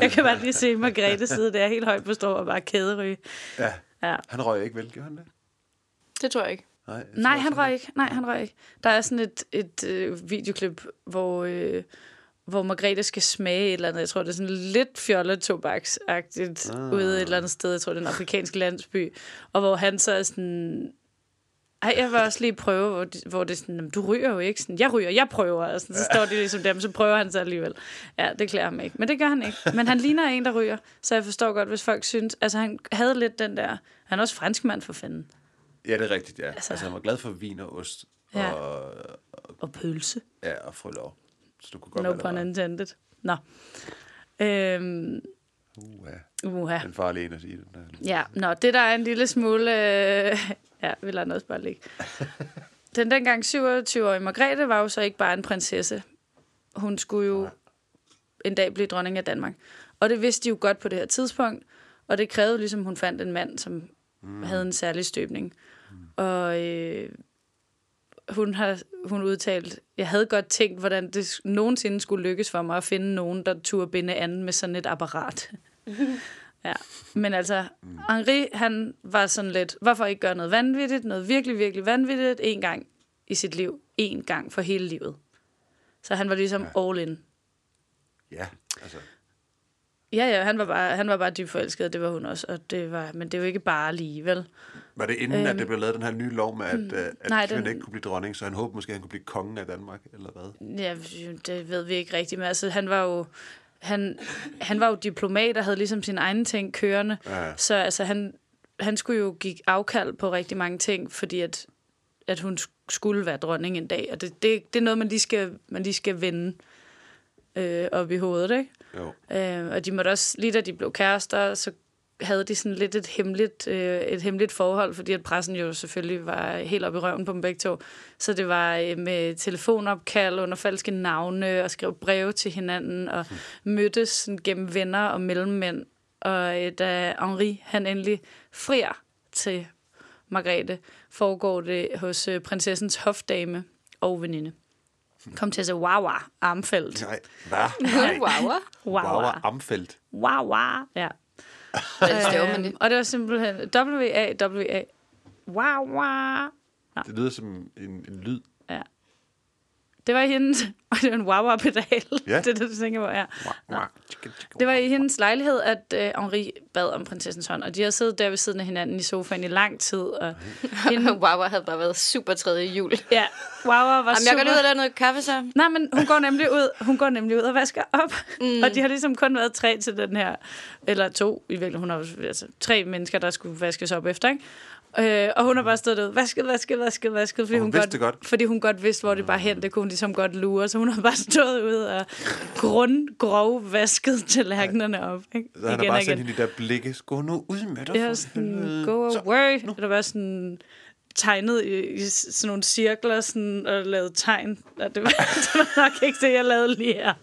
B: Jeg kan bare lige se Margrethe sidde der helt højt på strå og bare kæderyge.
A: Ja.
B: Ja.
A: Han røg ikke vel, gjorde han det?
C: Det tror jeg ikke.
A: Nej, jeg
B: Nej,
A: tror,
B: han røg ikke. Nej, han røg ikke. Der er sådan et, et øh, videoklip, hvor, øh, hvor Margrethe skal smage et eller andet. Jeg tror, det er sådan lidt fjolletobaks-agtigt ah. ude et eller andet sted. Jeg tror, det er en afrikansk landsby. Og hvor han så er sådan... Ej, jeg vil også lige prøve, hvor, de, hvor det er sådan, "Jamen, du ryger jo ikke. Sådan, jeg ryger, jeg prøver. Og sådan, så står de ligesom dem, så prøver han så alligevel. Ja, det klæder ham ikke. Men det gør han ikke. Men han ligner en, der ryger. Så jeg forstår godt, hvis folk synes... Altså, han havde lidt den der... Han er også franskmand for fanden.
A: Ja, det er rigtigt, ja. Altså,
B: Altså-
A: altså han var glad for vin og ost
B: Ja.
A: og,
B: Og pølse.
A: ja, og frølov. Så du kunne godt
B: No
A: være, der
B: pun
A: var-
B: intended. Nå. Øhm,
A: Uh, ja.
B: uha.
A: Den far alene at sige det. Der.
B: Ja, nå, det der er en lille smule... Øh, ja, vi lader den også bare ligge. Den dengang 27-årige Margrethe var jo så ikke bare en prinsesse. Hun skulle jo en dag blive dronning af Danmark. Og det vidste de jo godt på det her tidspunkt, og det krævede ligesom, hun fandt en mand, som mm. havde en særlig støbning. Mm. Og øh, hun har hun udtalt, jeg havde godt tænkt, hvordan det s- nogensinde skulle lykkes for mig at finde nogen, der turde binde anden med sådan et apparat. Ja, men altså, Henri, han var sådan lidt, hvorfor ikke gøre noget vanvittigt, noget virkelig, virkelig vanvittigt, en gang i sit liv, en gang for hele livet. Så han var ligesom ja. all in.
A: Ja, altså.
B: Ja, ja, han var bare, han var bare dybt forelsket, og det var hun også, og det var, men det er jo ikke bare lige, vel?
A: Var det inden, øhm, at det blev lavet den her nye lov med, at, øh, at
B: Hmm. nej,
A: nej, kvinden
B: den-
A: ikke kunne blive dronning, så han håbede måske, at han kunne blive kongen af Danmark, eller hvad?
B: Ja, det ved vi ikke rigtigt, men altså, han var jo, han, han var jo diplomat og havde ligesom sin egen ting kørende,
A: Ja.
B: så altså, han, han skulle jo give afkald på rigtig mange ting, fordi at, at hun sk- skulle være dronning en dag, og det, det, det er noget, man lige skal, man lige skal vende øh, op i hovedet, ikke?
A: Jo.
B: Øh, og de måtte også, lige da de blev kærester, så havde de sådan lidt et hemmeligt, øh, et hemmeligt forhold, fordi at pressen jo selvfølgelig var helt oppe i røven på dem begge to. Så det var øh, med telefonopkald under falske navne, og skrev breve til hinanden, og mødtes sådan, gennem venner og mellemmænd. Og øh, da Henri, han endelig frier til Margrethe, foregår det hos øh, prinsessens hofdame og veninde. Kom til at se Wawa Armfeldt.
A: Nej, hvad? Nej.
C: Nej. Wow.
A: Wow, Amfeldt.
B: Wow, wow. Ja.
C: Hvordan staver man det?
B: Øhm, og det var simpelthen W-A-W-A. Wow, wow.
A: Det lyder som en, en lyd.
B: Det var i hendes... Og det var en wow-pedal.
A: Ja.
B: Ja. Det er det, du tænker på, ja.
A: Wow,
B: Nå.
A: wow, tjekka, tjekka,
B: Det var
A: wow.
B: i hendes lejlighed, at øh, Henri bad om prinsessens hånd. Og de havde siddet der ved siden af hinanden i sofaen i lang tid. Og
C: Øhm,
B: hende,
C: Wow, havde bare været super tredje jul.
B: ja, wow var
C: Jamen, jeg går
B: super...
C: lige ud og laver noget kaffe, så.
B: Nej, men hun går nemlig ud, hun går nemlig ud og vasker op. Mm. Og de har ligesom kun været tre til den her, eller to, i virkeligheden, hun har jo- altså, tre mennesker, der skulle vaskes op efter, ikke? Øh, og hun har bare stået derude, vasket, vasket, vasket, vasket, fordi
A: Og hun
B: hun,
A: vidste
B: godt,
A: det godt.
B: fordi hun godt vidste, hvor det bare hen, det kunne hun ligesom godt lure, så hun har bare stået ude og grundgrov vasket tallerkenerne op, ikke?
A: Så han har bare sendt hende de der blikke. Gå nu ud med dig.
B: Jeg
A: for
B: er sådan,
A: helvede.
B: go
A: Så-
B: away. Så, der var sådan tegnet i, i sådan nogle cirkler sådan, og lavet tegn. Og det, var, det var nok ikke det, jeg lavede lige her.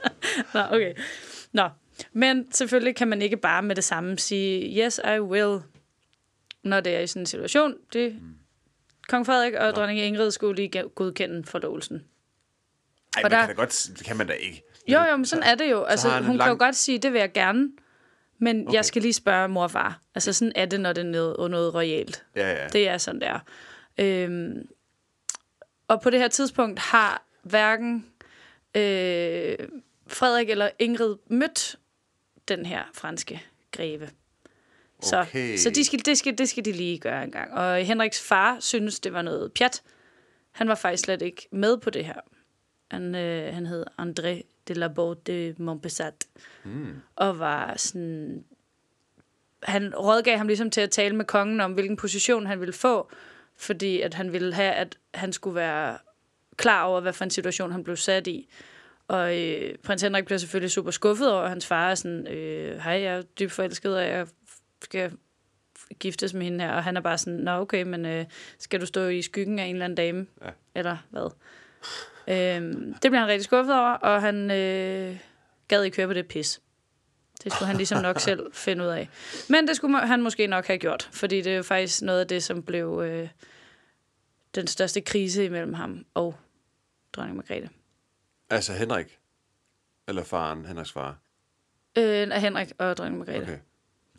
B: Nå, okay. Nå. Men selvfølgelig kan man ikke bare med det samme sige, yes, I will, når det er i sådan en situation. Det,
A: Mm.
B: Kong Frederik og dronning Ingrid skulle lige ge- godkende forlovelsen.
A: Ej,
B: Og
A: man
B: der-
A: kan da godt, det kan man da ikke.
B: Jo, jo, men sådan er det jo. Altså,
A: har han en
B: hun lang...
A: lang-
B: kan jo godt sige, det vil jeg gerne, men okay.
A: Okay.
B: jeg skal lige spørge mor og far. Altså, sådan er det, når det er noget, noget royalt.
A: Ja, ja.
B: Det er sådan, der. Øhm, og på det her tidspunkt har hverken øh, Frederik eller Ingrid mødt den her franske greve. Så,
A: Okay.
B: så de skal, det, skal, det skal de lige gøre en gang. Og Henriks far synes, det var noget pjat. Han var faktisk slet ikke med på det her. Han, øh, han hed André de la Borde de Montpessat. Mm. Og var sådan... Han rådgav ham ligesom til at tale med kongen om, hvilken position han ville få. Fordi at han ville have, at han skulle være klar over, hvad for en situation han blev sat i. Og øh, prins Henrik bliver selvfølgelig super skuffet over, at hans far er sådan, øh, hej, jeg er dybt forelsket, og jeg skal giftes med hende her. Og han er bare sådan, nå okay, men øh, skal du stå i skyggen af en eller anden dame?
A: Ja.
B: Eller hvad? øhm, det bliver han rigtig skuffet over, og han øh, gad ikke høre på det pis. Det skulle han ligesom nok selv finde ud af. Men det skulle må- han måske nok have gjort, fordi det er jo faktisk noget af det, som blev øh, den største krise imellem ham og dronning Margrethe.
A: Altså Henrik. Eller faren, Henriks far.
B: Øh, af Henrik og dronning Margrethe. Okay.
A: Okay.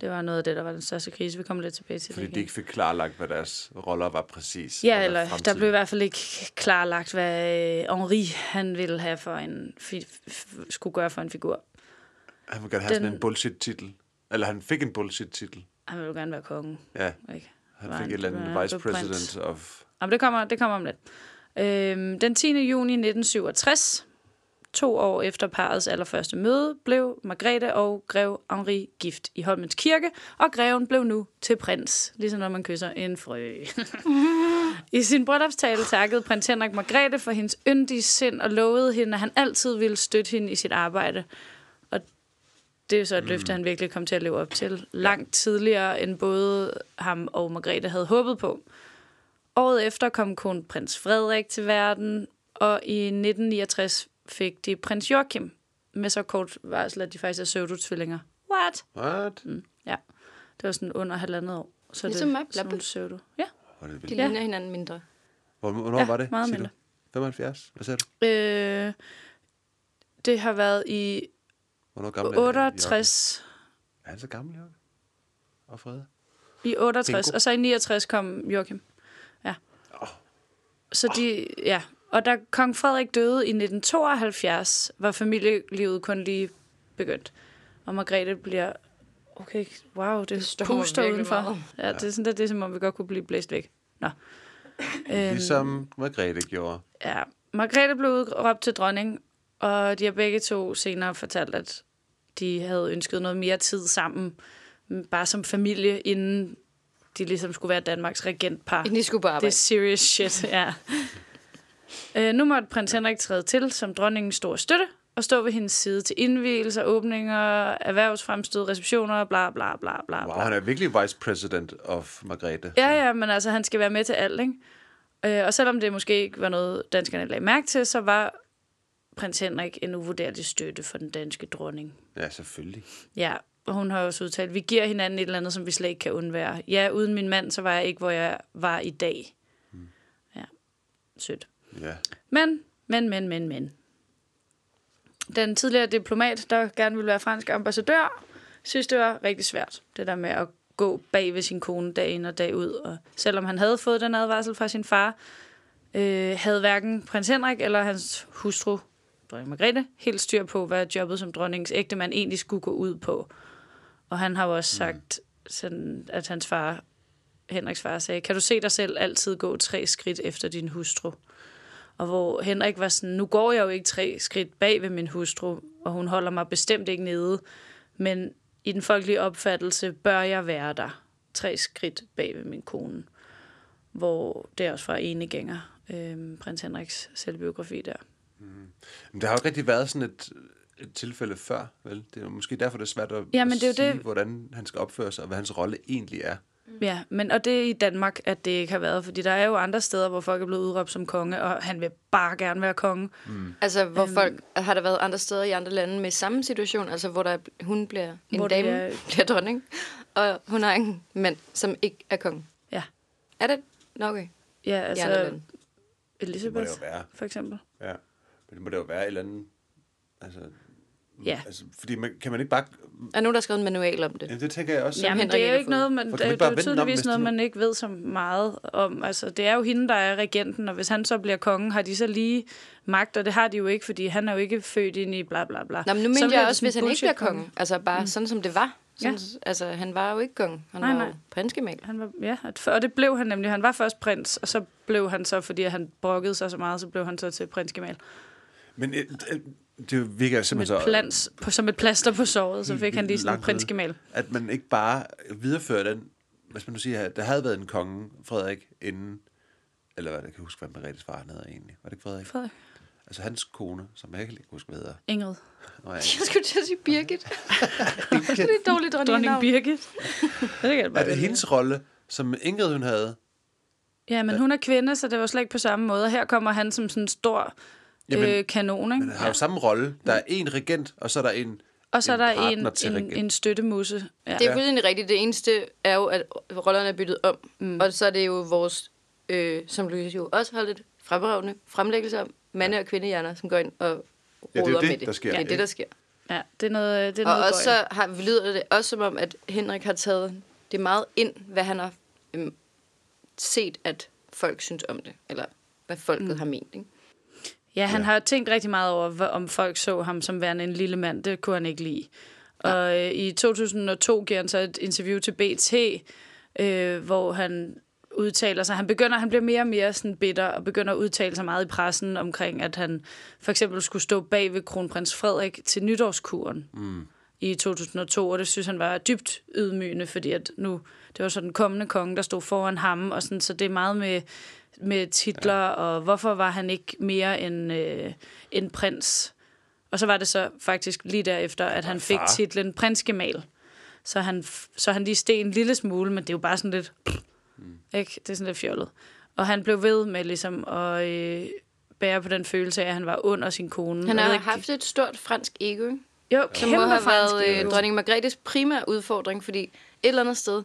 B: Det var noget af det, der var den største krise. Vi kommer lidt tilbage til
A: Fordi
B: det
A: de ikke fik klarlagt, hvad deres roller var præcis. og
B: Ja,
A: hvad
B: eller der
A: fremtiden-
B: blev i hvert fald ikke klarlagt, hvad øh, Henri han ville have for en fi- f- skulle gøre for en figur.
A: Han ville gerne have sådan
B: den-
A: en bullshit-titel. Eller han fik en bullshit-titel.
B: Han ville jo gerne være konge.
A: Ja,
B: Ikke?
A: han
B: Var
A: fik et eller
B: var
A: andet
B: han
A: vice
B: blev prins.
A: president of...
B: Jamen, det kommer, det kommer om lidt. Øhm, den 10. juni 1967, to år efter parrets allerførste møde, blev Margrethe og grev Henri gift i Holmens Kirke, og greven blev nu til prins, ligesom når man kysser en frø. I sin bryllupstale takkede prins Henrik Margrethe for hendes yndige sind og lovede hende, at han altid ville støtte hende i sit arbejde. Og det er jo så et løfte, han virkelig kom til at leve op til langt tidligere, end både ham og Margrethe havde håbet på. Året efter kom kronprins Frederik til verden, og i 1969 fik de prins Joachim med så kort varsel, at de faktisk er pseudotvillinger. What?
A: What? Mm.
B: Ja, det var sådan under halvandet år. Så
C: Ligesom
B: det,
C: mig,
B: sådan nogle
C: Blabbe.
B: pseudo. Ja,
A: Var det
C: De
A: vildt.
C: ligner hinanden mindre.
A: Hvor, hvornår
B: Ja,
A: var det?
B: meget
A: siger du?
B: mindre.
A: 75? Hvad sagde du?
B: øh, det har været i
A: Hvornår gammel er Jørgen?
B: 68,
A: Er han så gammel, Jørgen? Og Frede?
B: i 68,
A: Bingo.
B: og så i 69 kom Joachim. Ja. Så de, ja. Og da kong Frederik døde i 1972, var familielivet kun lige begyndt. Og Margrethe bliver... Okay, wow, det
C: stormer
B: puster
C: virkelig
B: udenfor.
C: meget.
B: Ja, det er sådan der, det er som om, vi godt kunne blive blæst væk. Nå. Øhm,
A: Ligesom Margrethe gjorde.
B: Ja, Margrethe blev udråbt til dronning, og de har begge to senere fortalt, at de havde ønsket noget mere tid sammen, m, bare som familie, inden de ligesom skulle være Danmarks regentpar.
C: Inden de skulle på
B: Det er
C: arbejde.
B: serious shit, ja. Øh, nu måtte prins Henrik træde til som dronningens store støtte, og stå ved hendes side til indvielser, åbninger, erhvervsfremstød, receptioner, bla bla bla bla.
A: Wow,
B: bla.
A: han er virkelig vice president of Margrethe.
B: Ja, ja, men altså, han skal være med til alt, ikke? Øh, og selvom det måske ikke var noget, danskerne lagde mærke til, så var prins Henrik en uvurderlig støtte for den danske dronning.
A: Ja, selvfølgelig.
B: Ja, og hun har også udtalt, vi giver hinanden et eller andet, som vi slet ikke kan undvære. Ja, uden min mand, så var jeg ikke, hvor jeg var i dag. Ja, sødt.
A: Ja.
B: Men, men, men, men, men. Den tidligere diplomat, der gerne ville være fransk ambassadør, synes, det var rigtig svært, det der med at gå bag ved sin kone dag ind og dag ud. Og selvom han havde fået den advarsel fra sin far, øh, havde hverken prins Henrik eller hans hustru, dronning Margrethe, helt styr på, hvad jobbet som dronningens ægtemand egentlig skulle gå ud på. Og han har jo også sagt, sådan, at hans far, Henriks far, sagde, kan du se dig selv altid gå tre skridt efter din hustru? Og hvor Henrik var sådan, nu går jeg jo ikke tre skridt bag ved min hustru, og hun holder mig bestemt ikke nede, men i den folkelige opfattelse bør jeg være der tre skridt bag ved min kone. Hvor det er også fra Enegænger, øh, prins Henriks selvbiografi der.
A: Men der har jo ikke rigtig været sådan et, et tilfælde før, vel? Det er jo måske derfor, det er svært at,
B: Ja, men
A: at
B: det er jo
A: sige,
B: det-
A: hvordan han skal opføre sig, og hvad hans rolle egentlig er.
B: Ja, men og det er i Danmark, at det ikke har været, fordi der er jo andre steder, hvor folk er blevet udråbt som konge, og han vil bare gerne være konge.
C: Altså, hvor folk har der været andre steder i andre lande med samme situation, altså hvor der, hun bliver en
B: Hvor
C: hvor
B: det
C: dame,
B: er-
C: er... bliver dronning, og hun har en mand, som ikke er konge.
B: Ja,
C: Er det? Nå, okay.
B: ja
C: Altså, I andre
B: altså
C: lande.
B: Elisabeth,
A: være.
B: for eksempel.
A: Ja. Men det må det jo være et eller andet... Altså,
B: Ja.
A: Altså, fordi man, kan man ikke bare...
C: Er nogen, der har skrevet en manual om det?
A: Ja, det tænker jeg også.
B: Jamen,
C: Henrik
B: det er
C: ikke
B: jo
C: har
B: ikke
C: fået.
B: noget, man,
A: For
B: det,
A: kan
B: er
A: man
B: jo-
A: ikke
B: det
A: bare vende den
B: er jo
A: om,
B: tydeligvis
A: hvis
B: noget,
A: det-
B: man ikke ved så meget om. Altså, det er jo hende, der er regenten, og hvis han så bliver kongen, har de så lige magt, og det har de jo ikke, fordi han er jo ikke født ind i bla bla bla.
C: Nå, men nu
B: Så
C: mente
B: bliver
C: jeg
B: det
C: også,
B: sådan
C: hvis han ikke bliver
B: bullshit-konge.
C: konge. Altså bare mm. sådan, som det var. Sådan, ja. Altså, han var jo ikke konge. Han
B: Nej,
C: var
B: nej.
C: jo prinskemaler.
B: Han var, ja, at- for- og det blev han nemlig. Han var først prins, og så blev han så, fordi han brokkede sig så meget, så blev han så til prinsgemal.
A: Men øh, øh, det virker
B: Som et,
A: simpelthen så...
B: plans, på, som et plaster på såret, så fik han lige sådan en
A: langt nede.
B: prinsgemal.
A: At man ikke bare viderefører den... Hvis man nu siger, at der havde været en konge, Frederik, inden... Eller hvad, jeg kan huske, hvad Merethes far han hedder egentlig. Var det ikke Frederik?
B: Frederik.
A: Altså hans kone, som jeg ikke kan huske, hvad hedder.
B: Ingrid.
A: Nå, jeg,
C: Jeg skulle til at sige Birgit. det er et dårligt
B: Dronning
C: dronningnavn.
B: Birgit. det kan jeg bare
A: er det
B: vælge.
A: hendes rolle, som Ingrid hun havde?
B: Ja, men hun er kvinde, så det var slet ikke på samme måde. Og her kommer han som sådan en stor
A: Jamen,
B: øh, kanon, ikke?
A: Men har jo samme rolle. Der er en regent, og så er der en
B: Og så er
A: en
B: der
A: partner
B: en,
A: til
B: en,
A: regenten.
B: en støttemusse. Ja.
C: Det er fuldstændig rigtigt. Det eneste er jo, at rollerne er byttet om. Mm. Og så er det jo vores, øh, som Louise jo også har lidt fremragende fremlæggelse om, mande- og kvindehjerner, som går ind og roder
A: Ja, det er jo det,
C: med det.
A: der sker,
C: Det er
A: ikke?
C: det, der sker.
B: ja, det er noget, det er
C: Og
B: noget
C: også
B: gøjl.
C: så har, lyder det også som om, at Henrik har taget det meget ind, hvad han har øhm, set, at folk synes om det. Eller hvad folket mm. har ment. Ikke?
B: Ja, han
A: Ja.
B: ja. har tænkt rigtig meget over, hvor- om folk så ham som værende en lille mand. Det kunne han ikke lide. Og øh, i 2002 giver han så et interview til BT, øh, hvor han udtaler sig. Han begynder, han bliver mere og mere sådan bitter og begynder at udtale sig meget i pressen omkring, at han for eksempel skulle stå bag ved kronprins Frederik til nytårskuren mm. i 2002, og det synes han var dybt ydmygende, fordi at nu, det var så den kommende konge, der stod foran ham, og sådan, så det er meget med, med titler, ja. og hvorfor var han ikke mere end, øh, end prins? Og så var det så faktisk lige derefter, at han fik
A: far.
B: titlen prinsgemal. Så han, f- så han lige steg en lille smule, men det er jo bare sådan lidt... Ikke? Det er sådan lidt fjollet. Og han blev ved med ligesom at øh, bære på den følelse af, at han var under sin kone.
C: Han
B: Jeg ved
C: har
B: ikke-
C: haft et stort fransk ego. ikke?
B: jo,
C: som må
B: kæmpe
C: have været
B: fransk
C: øh, dronning Margrethes primære udfordring, fordi et eller andet sted,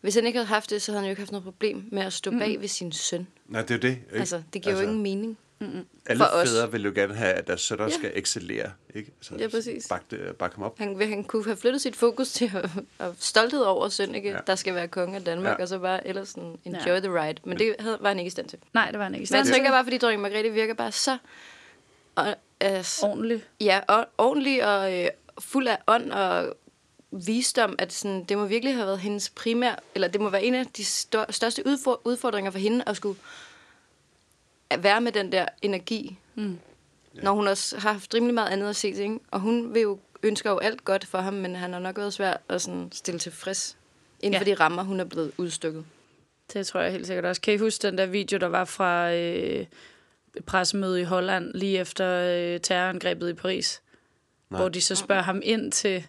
C: hvis han ikke havde haft det, så havde han jo ikke haft noget problem med at stå
B: Mm.
C: bag ved sin søn.
A: Nej, det er jo det. Ikke?
C: Altså, det giver altså, jo ingen mening.
A: Alle
C: for os.
A: fædre vil jo gerne have, at deres sønner ja.
C: Ja.
A: skal excellere. Ikke? Altså,
C: Ja, præcis.
A: Bak, det, bak ham op.
C: Han, vil- han kunne have flyttet sit fokus til at, at stolthed over søn, ikke?
A: Ja.
C: Ja. der skal være konge af Danmark,
A: Ja.
C: ja. og så bare ellers sådan, enjoy ja. the ride. Men det havde, var han ikke i stand til.
B: Nej, det var han ikke i
C: Men jeg
B: stand til.
C: tænker bare, fordi dronning Margrethe virker bare så... Og, altså,
B: Ordentligt.
C: ja, og, ordentlig og øh, fuld af ånd og visdom, at sådan, det må virkelig have været hendes primære, eller det må være en af de stør- største udfor- udfordringer for hende at skulle at være med den der energi, mm. når hun også har haft rimelig meget andet at se til, ikke? og hun vil jo ønsker jo alt godt for ham, men han har nok været svært at sådan stille tilfreds inden
B: Ja.
C: for de rammer, hun er blevet udstukket.
B: Det tror jeg helt sikkert også. Kan I huske den der video, der var fra øh, et pressemøde i Holland, lige efter øh, terrorangrebet i Paris? Nej. Hvor de så spørger ham ind til...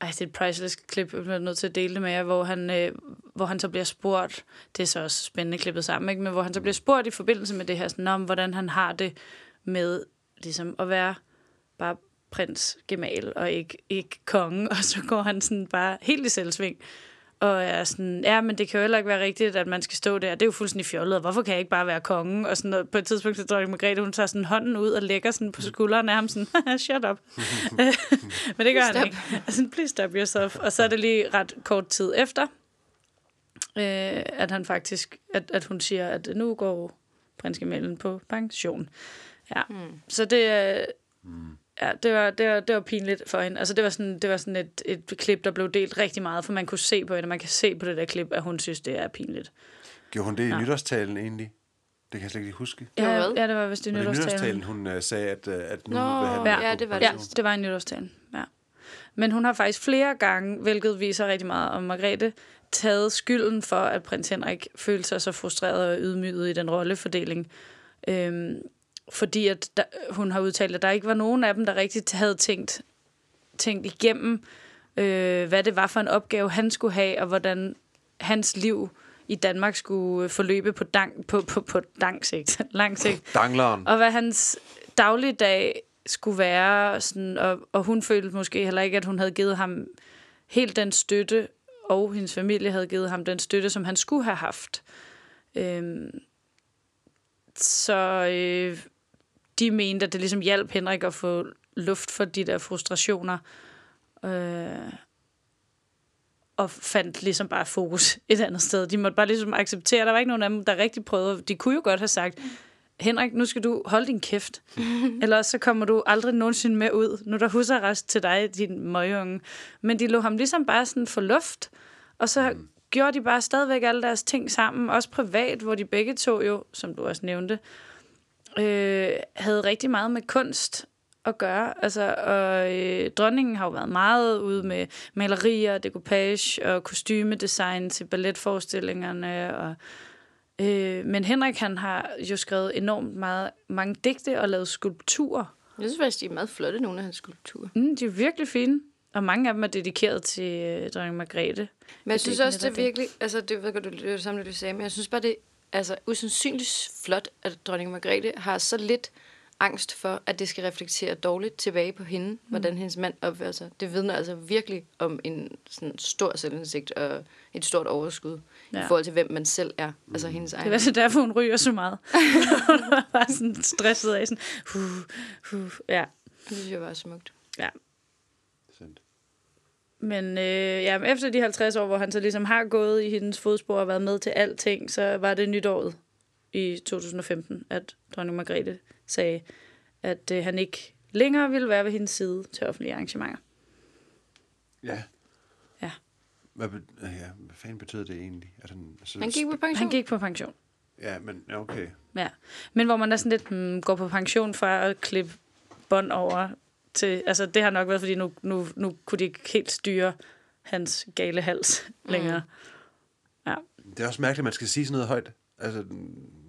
B: Ej, det er et priceless klip, jeg bliver nødt til at dele det med jer, hvor han, øh, hvor han så bliver spurgt, det er så også spændende klippet sammen, ikke? men hvor han så bliver spurgt i forbindelse med det her, sådan, om hvordan han har det med ligesom, at være bare prins gemal og ikke, ikke konge, og så går han sådan bare helt i selvsving. Og er sådan, ja, men det kan jo heller ikke være rigtigt, at man skal stå der. Det er jo fuldstændig fjollet, og hvorfor kan jeg ikke bare være konge? Og sådan noget. på et tidspunkt, så dronning Margrethe, hun tager sådan hånden ud og lægger sådan på skulderen af ham, sådan, "Haha, shut up. Øh, men det gør han
C: Stop.
B: ikke. Og sådan, please stop yourself. Og så er det lige ret kort tid efter, øh, at han faktisk, at, at hun siger, at nu går prinskemalen på pension. Ja, mm. så det, øh, ja, det, var, det, var, det var pinligt for hende. Altså, det var sådan, det var sådan et, et klip, der blev delt rigtig meget, for man kunne se på hende, man kan se på det der klip, at hun synes, det er pinligt.
A: Gjorde hun det i ja. nytårstalen egentlig? Det kan jeg slet ikke lige huske.
C: Jo,
B: Ja,
C: hvad?
B: ja, det var vist i
A: Men i nytårstalen,
B: nytårstalen.
A: hun uh, sagde, at, uh, at nu
C: Nå,
A: vil han
C: ja,
A: gå på
C: det var
B: Ja,
A: pension.
B: det var i nytårstalen, ja. Men hun har faktisk flere gange, hvilket viser rigtig meget om Margrethe, taget skylden for, at prins Henrik følte sig så frustreret og ydmyget i den rollefordeling. Øhm, fordi at der, hun har udtalt, at der ikke var nogen af dem, der rigtig havde tænkt, tænkt igennem, øh, hvad det var for en opgave, han skulle have, og hvordan hans liv i Danmark skulle forløbe på, dang, på, på, på dang sigt, lang sigt.
A: Dangleren.
B: Og hvad hans dagligdag skulle være, sådan, og, og hun følte måske heller ikke, at hun havde givet ham helt den støtte, og hendes familie havde givet ham den støtte, som han skulle have haft. Øhm, så øh, de mente, at det ligesom hjalp Henrik at få luft for de der frustrationer. Øh, og fandt ligesom bare fokus et andet sted. De måtte bare ligesom acceptere, der var ikke nogen af dem, der rigtig prøvede. De kunne jo godt have sagt, Henrik, nu skal du holde din kæft. Eller også så kommer du aldrig nogensinde med ud. Nu er der husarrest til dig, din møgeunge. Men de lå ham ligesom bare sådan for luft. Og så mm. gjorde de bare stadigvæk alle deres ting sammen. Også privat, hvor de begge to jo, som du også nævnte, øh, havde rigtig meget med kunst at gøre. Altså, og øh, dronningen har jo været meget ude med malerier, decoupage og kostymedesign til balletforestillingerne. Og, øh, men Henrik, han har jo skrevet enormt meget, mange digte og lavet skulpturer.
C: Jeg synes faktisk, de er meget flotte, nogle af hans skulpturer.
B: Mm, de er virkelig fine. Og mange af dem er dedikeret til øh, dronning Margrethe.
C: Men jeg synes
B: ikke
C: også, det er
B: netop det?
C: virkelig... Altså, det ved jeg godt, du det er det samme, det du sagde, men jeg synes bare, det er altså, usandsynligt flot, at dronning Margrethe har så lidt angst for, at det skal reflektere dårligt tilbage på hende, mm. hvordan hendes mand opfører sig. Det vidner altså virkelig om en sådan, stor selvindsigt og et stort overskud ja.
B: Ja.
C: i forhold til, hvem man selv er. Altså hendes egen.
B: Det er altså derfor, hun ryger så meget. hun var bare sådan stresset af, sådan, huh, huh. Ja,
C: Det synes jeg var smukt.
B: ja.
A: Sandt.
B: Men øh, ja, men efter de 50 år, hvor han så ligesom har gået i hendes fodspor og været med til alting, så var det nytåret i 2015, at dronning Margrethe sagde, at øh, han ikke længere ville være ved hendes side til offentlige arrangementer.
A: Ja.
B: Ja.
A: Hvad, be- øh, ja, hvad fanden betød det egentlig? At han, altså,
C: Han gik på pension.
B: Han gik på pension.
A: Ja, men ja, okay.
B: Ja. Men hvor man er sådan lidt, hmm, går på pension fra at klippe bånd over til... Altså, det har nok været, fordi nu, nu, nu kunne de ikke helt styre hans gale hals længere. Ja.
A: Det er også mærkeligt, at man skal sige sådan noget højt. Altså,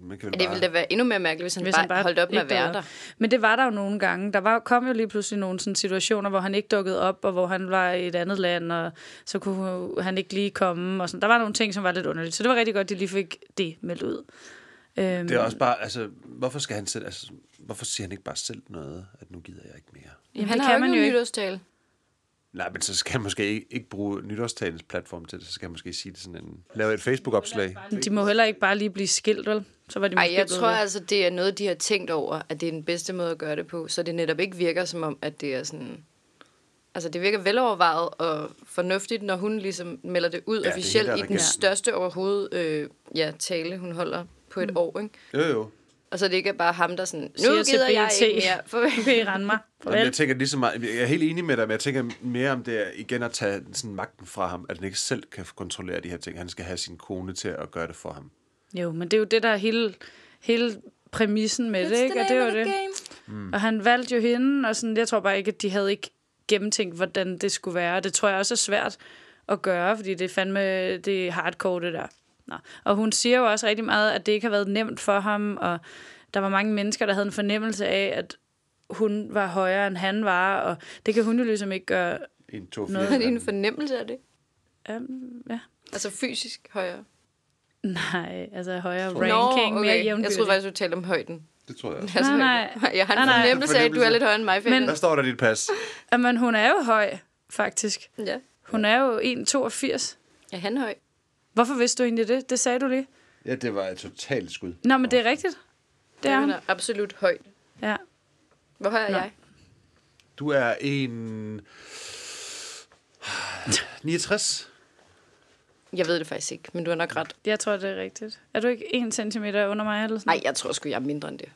A: man kan vel
C: Ja, det
A: bare...
C: ville da være endnu mere mærkeligt, hvis han,
B: Hvis
C: bare,
B: han bare
C: holdt op med at
B: ikke
C: være
B: dukkede
C: der.
B: op. Men det var der jo nogle gange. Der var, kom jo lige pludselig nogle sådan situationer, hvor han ikke dukkede op, og hvor han var i et andet land, og så kunne han ikke lige komme. Og sådan. Der var nogle ting, som var lidt underligt. Så det var rigtig godt, at de lige fik det meldt ud. Øhm,
A: Det er også bare, altså, hvorfor skal han selv, altså, hvorfor siger han ikke bare selv noget, at nu gider jeg ikke mere?
B: Jamen,
C: han
B: det
C: har
B: kan
C: jo
B: man
C: ikke
B: jo
C: nogen
B: ikke.
C: nytårstale.
A: Nej, men så skal han måske ikke, ikke bruge nytårstalens platform til det, så skal han måske sige det sådan en, lave et Facebook-opslag.
B: de må heller ikke bare lige blive skilt, vel? Så var de
C: Ej,
B: måske
C: jeg
B: blevet
C: tror
B: det.
C: altså, det er noget, de har tænkt over, at det er den bedste måde at gøre det på, så det netop ikke virker som om, at det er sådan... Altså, det virker velovervejet og fornuftigt, når hun ligesom melder det ud
A: det er
C: ja, officielt
A: helt
C: i den
A: arrogant.
C: største overhovedet øh, ja, tale, hun holder på et mm. år, ikke?
A: Jo, jo.
C: Og så det ikke er bare ham, der sådan, nu
B: Siger
C: gider
B: til
C: jeg
B: BT.
C: ikke mere. For...
B: Nu kan I rende mig.
A: Jamen, jeg
B: Farvel.
A: tænker lige så meget, jeg er helt enig med dig, men jeg tænker mere om det er igen at tage sådan magten fra ham, at han ikke selv kan kontrollere de her ting. Han skal have sin kone til at gøre det for ham.
B: Jo, men det er jo det, der er hele, hele præmissen med det, ikke? Og det er jo det. Mm. Og han valgte jo hende, og sådan, jeg tror bare ikke, at de havde ikke gennemtænkt, hvordan det skulle være. Og det tror jeg også er svært at gøre, fordi det er fandme det er hardcore, det der. Nå. Og hun siger jo også rigtig meget, at det ikke har været nemt for ham, og der var mange mennesker, der havde en fornemmelse af, at hun var højere, end han var, og det kan hun jo ligesom ikke gøre.
A: En, to, fire.
C: Noget af en fornemmelse af det.
B: Um, ja.
C: Altså fysisk højere.
B: Nej, altså højere ranking, mere
C: Nå, okay. Jeg
B: jævnbyrdig.
C: troede faktisk, du talte om højden.
A: Det tror jeg.
C: Altså,
B: nej.
C: højden. Jeg har en
B: Nej, nej.
C: fornemmelse af, at du er lidt højere end mig,
B: Men-
A: Der
C: Men...
A: står der i dit pas.
B: Jamen, hun er jo høj, faktisk.
C: Ja.
B: Hun er jo 1,82.
C: Er han høj?
B: Hvorfor vidste du egentlig det? Det sagde du lige.
A: Ja, det var et totalt skud.
B: Nå, men det er rigtigt. Det er hun.
C: er absolut høj.
B: Ja.
C: Hvor høj er jeg?
A: Du er en... 69.
C: Jeg ved det faktisk ikke, men du har nok ret.
B: Jeg tror, det er rigtigt. Er du ikke 1 cm under mig eller sådan
C: Nej, jeg tror sgu, jeg er mindre end det.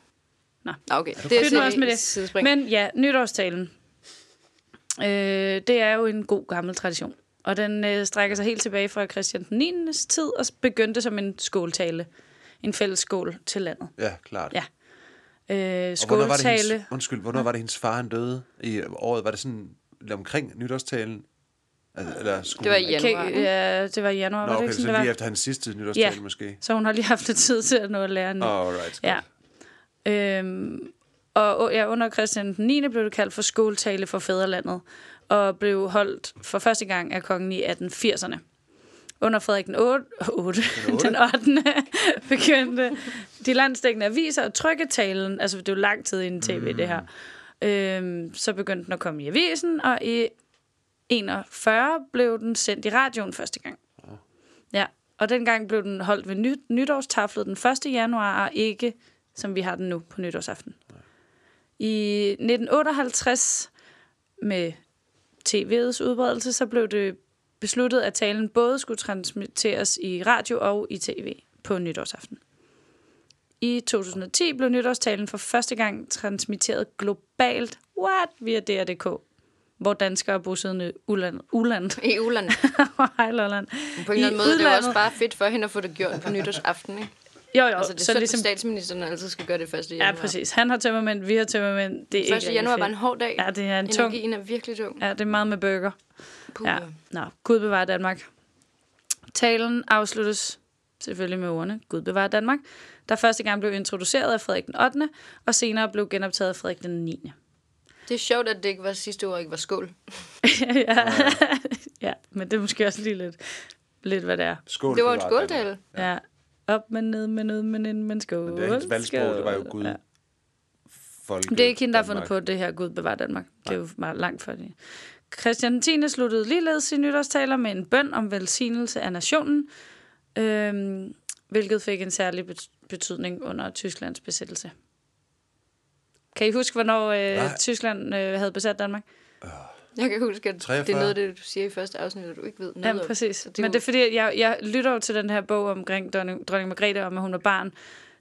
B: Nå.
C: Nå, okay. Det
B: Pyt nu også med det.
C: Sidespring. Men...
B: Men ja, nytårstalen. Øh, det er jo en god gammel tradition. Og den øh, strækker sig helt tilbage fra Christian den 9. tid og begyndte som en skåltale. En fælles skål til landet.
A: Ja, klart.
B: Ja. Øh,
A: Og hvornår var det
B: skåltale.
A: hendes, undskyld, hvornår var det hendes far, han døde i året? Var det sådan omkring nytårstalen? Altså, eller skulle
C: Det var i
A: hun-
C: januar.
B: Kan- ja, det var i
A: Nå,
B: januar, var det
A: okay,
B: ikke
A: så
B: sådan, det var?
A: lige efter hans sidste nytårstale
B: Ja.
A: måske.
B: Så hun har lige haft lidt tid til at nå at lære nu.
A: Alright,
B: Ja.
A: godt.
B: Øhm, og og- ja, under Christian den 9. blev det kaldt for skoletale for fædrelandet, og blev holdt for første gang af kongen i 1880'erne. Under Frederik den 8. 8. Den 8. begyndte de landstækkende aviser at trykke talen. Altså, det er jo lang tid inden tv, mm. det her. Øhm, så begyndte den at komme i avisen, og i 41 blev den sendt i radioen første gang. Ja, og dengang blev den holdt ved nyt, nytårstaflet den 1. januar, og ikke som vi har den nu på nytårsaften. I 1958 med tv'ets udbredelse, så blev det besluttet, at talen både skulle transmitteres i radio og i tv på nytårsaften. I 2010 blev nytårstalen for første gang transmitteret globalt what, via DR.dk, hvor danskere bosiddende uland, uland
C: I Uland.
B: og Hejlolland.
C: På en eller anden måde, det er jo også bare fedt for hende at få det gjort på nytårsaften, ikke?
B: Jo, jo,
C: Altså, det er
B: så
C: synd,
B: ligesom...
C: ligesom... statsministeren altid skal gøre det første januar.
B: Ja, præcis. Han har tømmermænd, vi har tømmermænd. Det er ikke
C: 1.
B: rigtig
C: januar var
B: fedt.
C: en hård dag.
B: Ja, det er en tung...
C: Energien er virkelig tung.
B: Ja, det er meget med burger.
C: Puh.
B: Ja. Nå, Gud bevarer Danmark. Talen afsluttes selvfølgelig med ordene Gud bevarer Danmark, der første gang blev introduceret af Frederik den 8., og senere blev genoptaget af Frederik den 9.
C: Det er sjovt, at det ikke var sidste år, ikke var skål.
B: ja. ja, men det er måske også lige lidt, lidt hvad det er.
A: Skål.
C: Det var en
A: bevaret
C: skåltale.
A: Danmark.
B: Ja. ja. Op, men ned, men ud, men ind, men skål.
A: Men det er hendes valgsprog, det var jo
B: skål.
A: Gud.
B: Ja.
A: Folket,
B: Det er ikke hende, der har fundet
A: Danmark.
B: på det her Gud bevar Danmark. Det er jo meget langt fra det. Christian 10. sluttede ligeledes sin nytårstaler med en bøn om velsignelse af nationen, øhm, hvilket fik en særlig bet- betydning under Tysklands besættelse. Kan I huske, hvornår øh,
A: Nej.
B: Tyskland øh, havde besat Danmark?
C: Jeg kan huske, at
A: 43.
C: det er noget af det, du siger i første afsnit, at du ikke ved noget
B: Ja,
C: om.
B: præcis.
C: Så
B: Men det er fordi, jeg, jeg lytter jo til den her bog omkring dronning, dronning Margrethe, om at hun var barn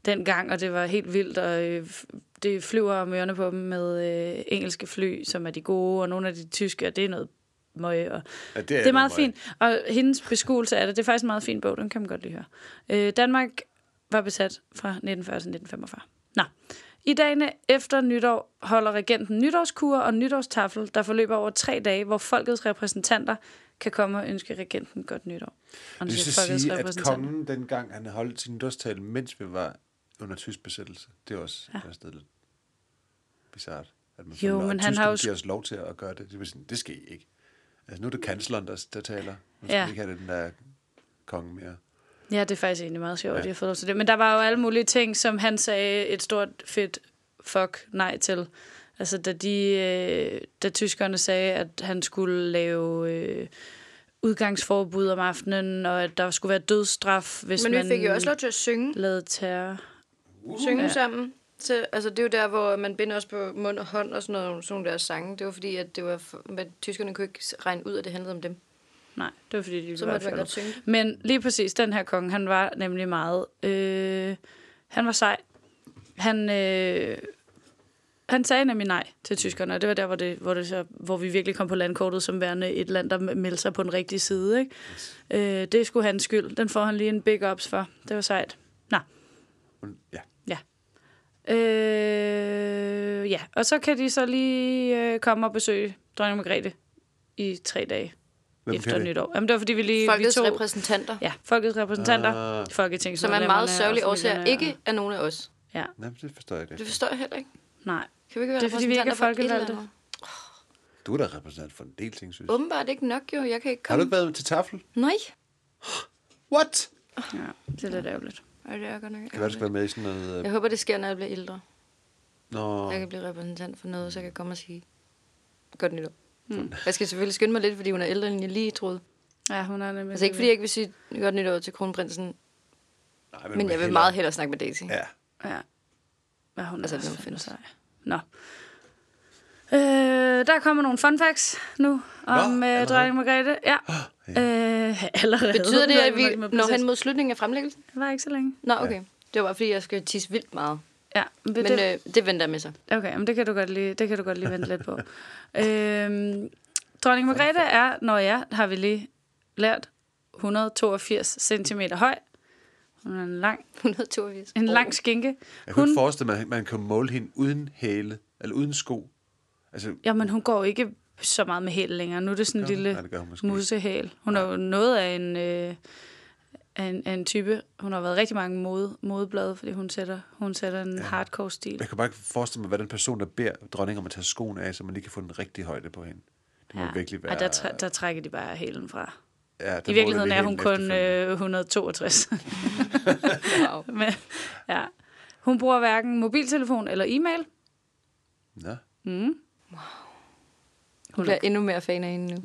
B: dengang, og det var helt vildt, og øh, f- det flyver om ørerne på dem med øh, engelske fly, som er de gode, og nogle af de tyske, og det er noget møg. Og
A: Ja, det er
B: det er
A: noget
B: meget
A: møg.
B: fint. Og hendes beskuelse af det, det er faktisk en meget fin bog, den kan man godt lige høre. Øh, Danmark var besat fra 1940 til 1945. Nå. I dagene efter nytår holder regenten nytårskur og nytårstafel, der forløber over tre dage, hvor folkets repræsentanter kan komme og ønske regenten godt nytår. Og
A: Det
B: siger
A: vil så
B: folkets
A: sige, at
B: repræsentanter.
A: kongen dengang, han holdt sin nytårstale, mens vi var under tysk besættelse. Det er også ja. også lidt bizart. At man
B: Jo,
A: finder,
B: men
A: at
B: han
A: tyskerne
B: har jo s-
A: giver os lov til at gøre det. Det, vil sige, det skal I ikke. Altså, nu er det kansleren, der, der taler. Nu skal
B: Ja.
A: ja. ikke have den der konge mere.
B: Ja, det er faktisk egentlig meget sjovt, ja. at jeg har fået lov til det. Men der var jo alle mulige ting, som han sagde et stort fedt fuck nej til. Altså, da, de, øh, da tyskerne sagde, at han skulle lave øh, udgangsforbud om aftenen, og at der skulle være dødsstraf, hvis
C: Men
B: man
C: vi fik jo også lov til at synge,
B: lavede terror.
C: synge sammen. Så, altså, det er jo der, hvor man binder os på mund og hånd og sådan noget, sådan nogle der sange. Det var fordi, at det var, for- men tyskerne kunne ikke regne ud, at det handlede om dem.
B: Nej, det var fordi, de
C: Så
B: var
C: måtte man
B: fjollede.
C: godt synge det.
B: Men lige præcis, den her konge, han var nemlig meget... Øh, han var sej. Han, øh, han sagde nemlig nej til tyskerne, og det var der, hvor, det, hvor, det så, hvor vi virkelig kom på landkortet som værende et land, der meldte sig på den rigtige side. Ikke? Øh, det skulle hans skyld. Den får han lige en big ups for. Det var sejt. Nå,
A: Men, ja.
B: ja. Øh, ja, og så kan de så lige øh, komme og besøge dronning Margrethe i tre dage
A: Hvem
B: efter
A: kan det?
B: nytår. Jamen, det var fordi, vi lige...
C: Folkets
B: vi tog,
C: repræsentanter,
B: Ja, folkets repræsentanter,
A: Ah.
B: folketing,
C: som er meget sørgelig årsager, ikke er nogen af os.
B: Ja,
A: Nej, men det forstår jeg
C: Det
A: ikke.
C: forstår jeg heller ikke.
B: nej.
C: Kan vi ikke være
B: Det er, fordi vi ikke er
C: repræsentanter for et eller
B: folkevalgte.
C: andet?
A: Du er da repræsentant for en del ting, synes jeg.
C: Åbenbart ikke nok jo, jeg kan ikke
A: Har
C: komme.
A: du ikke været til tafel?
C: Nej.
A: What?
B: Ja, det er lidt ærgerligt.
C: Ej, det er godt nok.
A: Kan være, du skal være med i sådan noget...
C: Jeg
A: Øh,
C: håber, det sker, når jeg bliver ældre.
A: nå,
C: Jeg kan blive repræsentant for noget, så jeg kan komme og sige godt nytår.
B: Hmm.
C: Mm. Jeg skal selvfølgelig skynde mig lidt, fordi hun er ældre, end jeg lige troede.
B: Ja, hun er nemlig...
C: Altså ikke fordi jeg ikke vil sige godt nytår til kronprinsen,
A: nej,
C: men jeg vil
A: hellere-
C: meget hellere snakke med Daisy. Ja.
A: Ja.
B: Ja. Ja, hun
C: Altså,
B: altså, er
C: den
B: fandme
C: findes.
B: sej. Nå. Øh, der kommer nogle fun facts nu om øh,
A: allerede?
B: dronning Margrethe. Ja. Øh, allerede.
C: Betyder det, at
B: Nå,
C: vi
B: det må
C: når hen
B: præcis-
C: mod slutningen af fremlæggelsen?
B: Det var ikke så længe.
C: Nå, okay. Det var bare, fordi jeg skal tisse vildt meget.
B: Ja, men,
C: Men
B: det,
C: øh, det venter jeg med sig.
B: Okay, men det kan du godt lige, det kan du godt lige vente lidt på. øhm, dronning Margrethe er, når jeg har vi lige lært, 182 cm høj. Hun er en lang,
C: 182.
B: en lang skinke.
A: Jeg kunne
B: Hun,
A: ikke forestille mig, at man kan måle hende uden hæle, eller uden sko. Altså,
B: jamen, hun går ikke så meget med hæl længere. Nu er det sådan en
A: Gør hun?
B: lille
A: Nej, det gør hun måske ikke.
B: musehæl. Hun er jo noget af en, øh, af en, af en type. Hun har været rigtig mange mode, modeblade, fordi hun sætter, hun sætter en hardcore-stil.
A: jeg kan bare ikke forestille mig, hvordan person, der beder dronningen om at tage skoen af, så man lige kan få den rigtige højde på hende. Det må ja. virkelig være...
B: Ej, der, tr- der trækker de bare hælen fra.
A: ja, der
B: I virkeligheden
A: måler vi
B: er hun
A: hælen
B: kun
A: efterfølgende.
B: øh, 162.
C: Wow.
B: Men, ja. Hun bruger hverken mobiltelefon eller e-mail. øh,
A: Nå.
C: Hun bliver endnu mere fan af hende nu.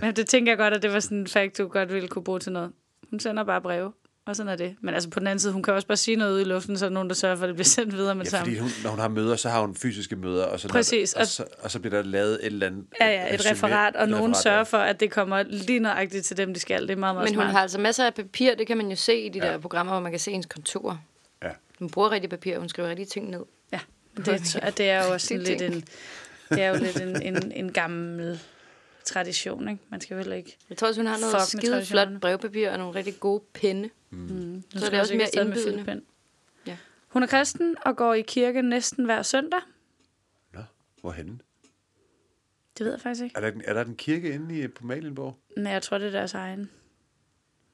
B: Men det tænker jeg godt, at det var sådan en fact, du godt ville kunne bruge til noget. Hun sender bare breve. Og sådan er det. Men altså på den anden side, hun kan også bare sige noget ud i luften, så er der nogen, der sørger for, at det bliver sendt videre med det
A: Ja,
B: samme.
A: fordi hun, når hun har møder, så har hun fysiske møder, og så, når-
B: Præcis,
A: og,
B: og-
A: så, og så bliver der lavet et eller andet...
B: Ja, ja, et
A: resumé-
B: referat, og
A: et
B: nogen
A: referat,
B: sørger
A: ja.
B: for, at det kommer lige nøjagtigt til dem, de skal. Det er meget, meget
C: Men hun
B: smart.
C: har altså masser af papir, det kan man jo se i de
A: Ja.
C: ja. der programmer, hvor man kan se hendes kontor.
A: Ja.
C: Hun bruger rigtig papir, og hun skriver rigtig ting ned.
B: Ja, det, og det er jo også sådan
C: Det er
B: lidt en, det er jo lidt en, en, en gammel tradition, ikke? Man skal vel ikke...
C: Jeg tror også, hun har noget
B: Fuck med
C: skide flot
B: traditionerne.
C: brevpapir og nogle rigtig gode penne.
B: Mm.
C: det også mere indbydende. Ja.
B: Hun er kristen og går i kirke næsten hver søndag.
A: Nå, hvorhen?
B: Det ved jeg faktisk ikke.
A: Er der, en- er der en kirke inde i, på Malienborg?
B: Nej, jeg tror, det er deres egen.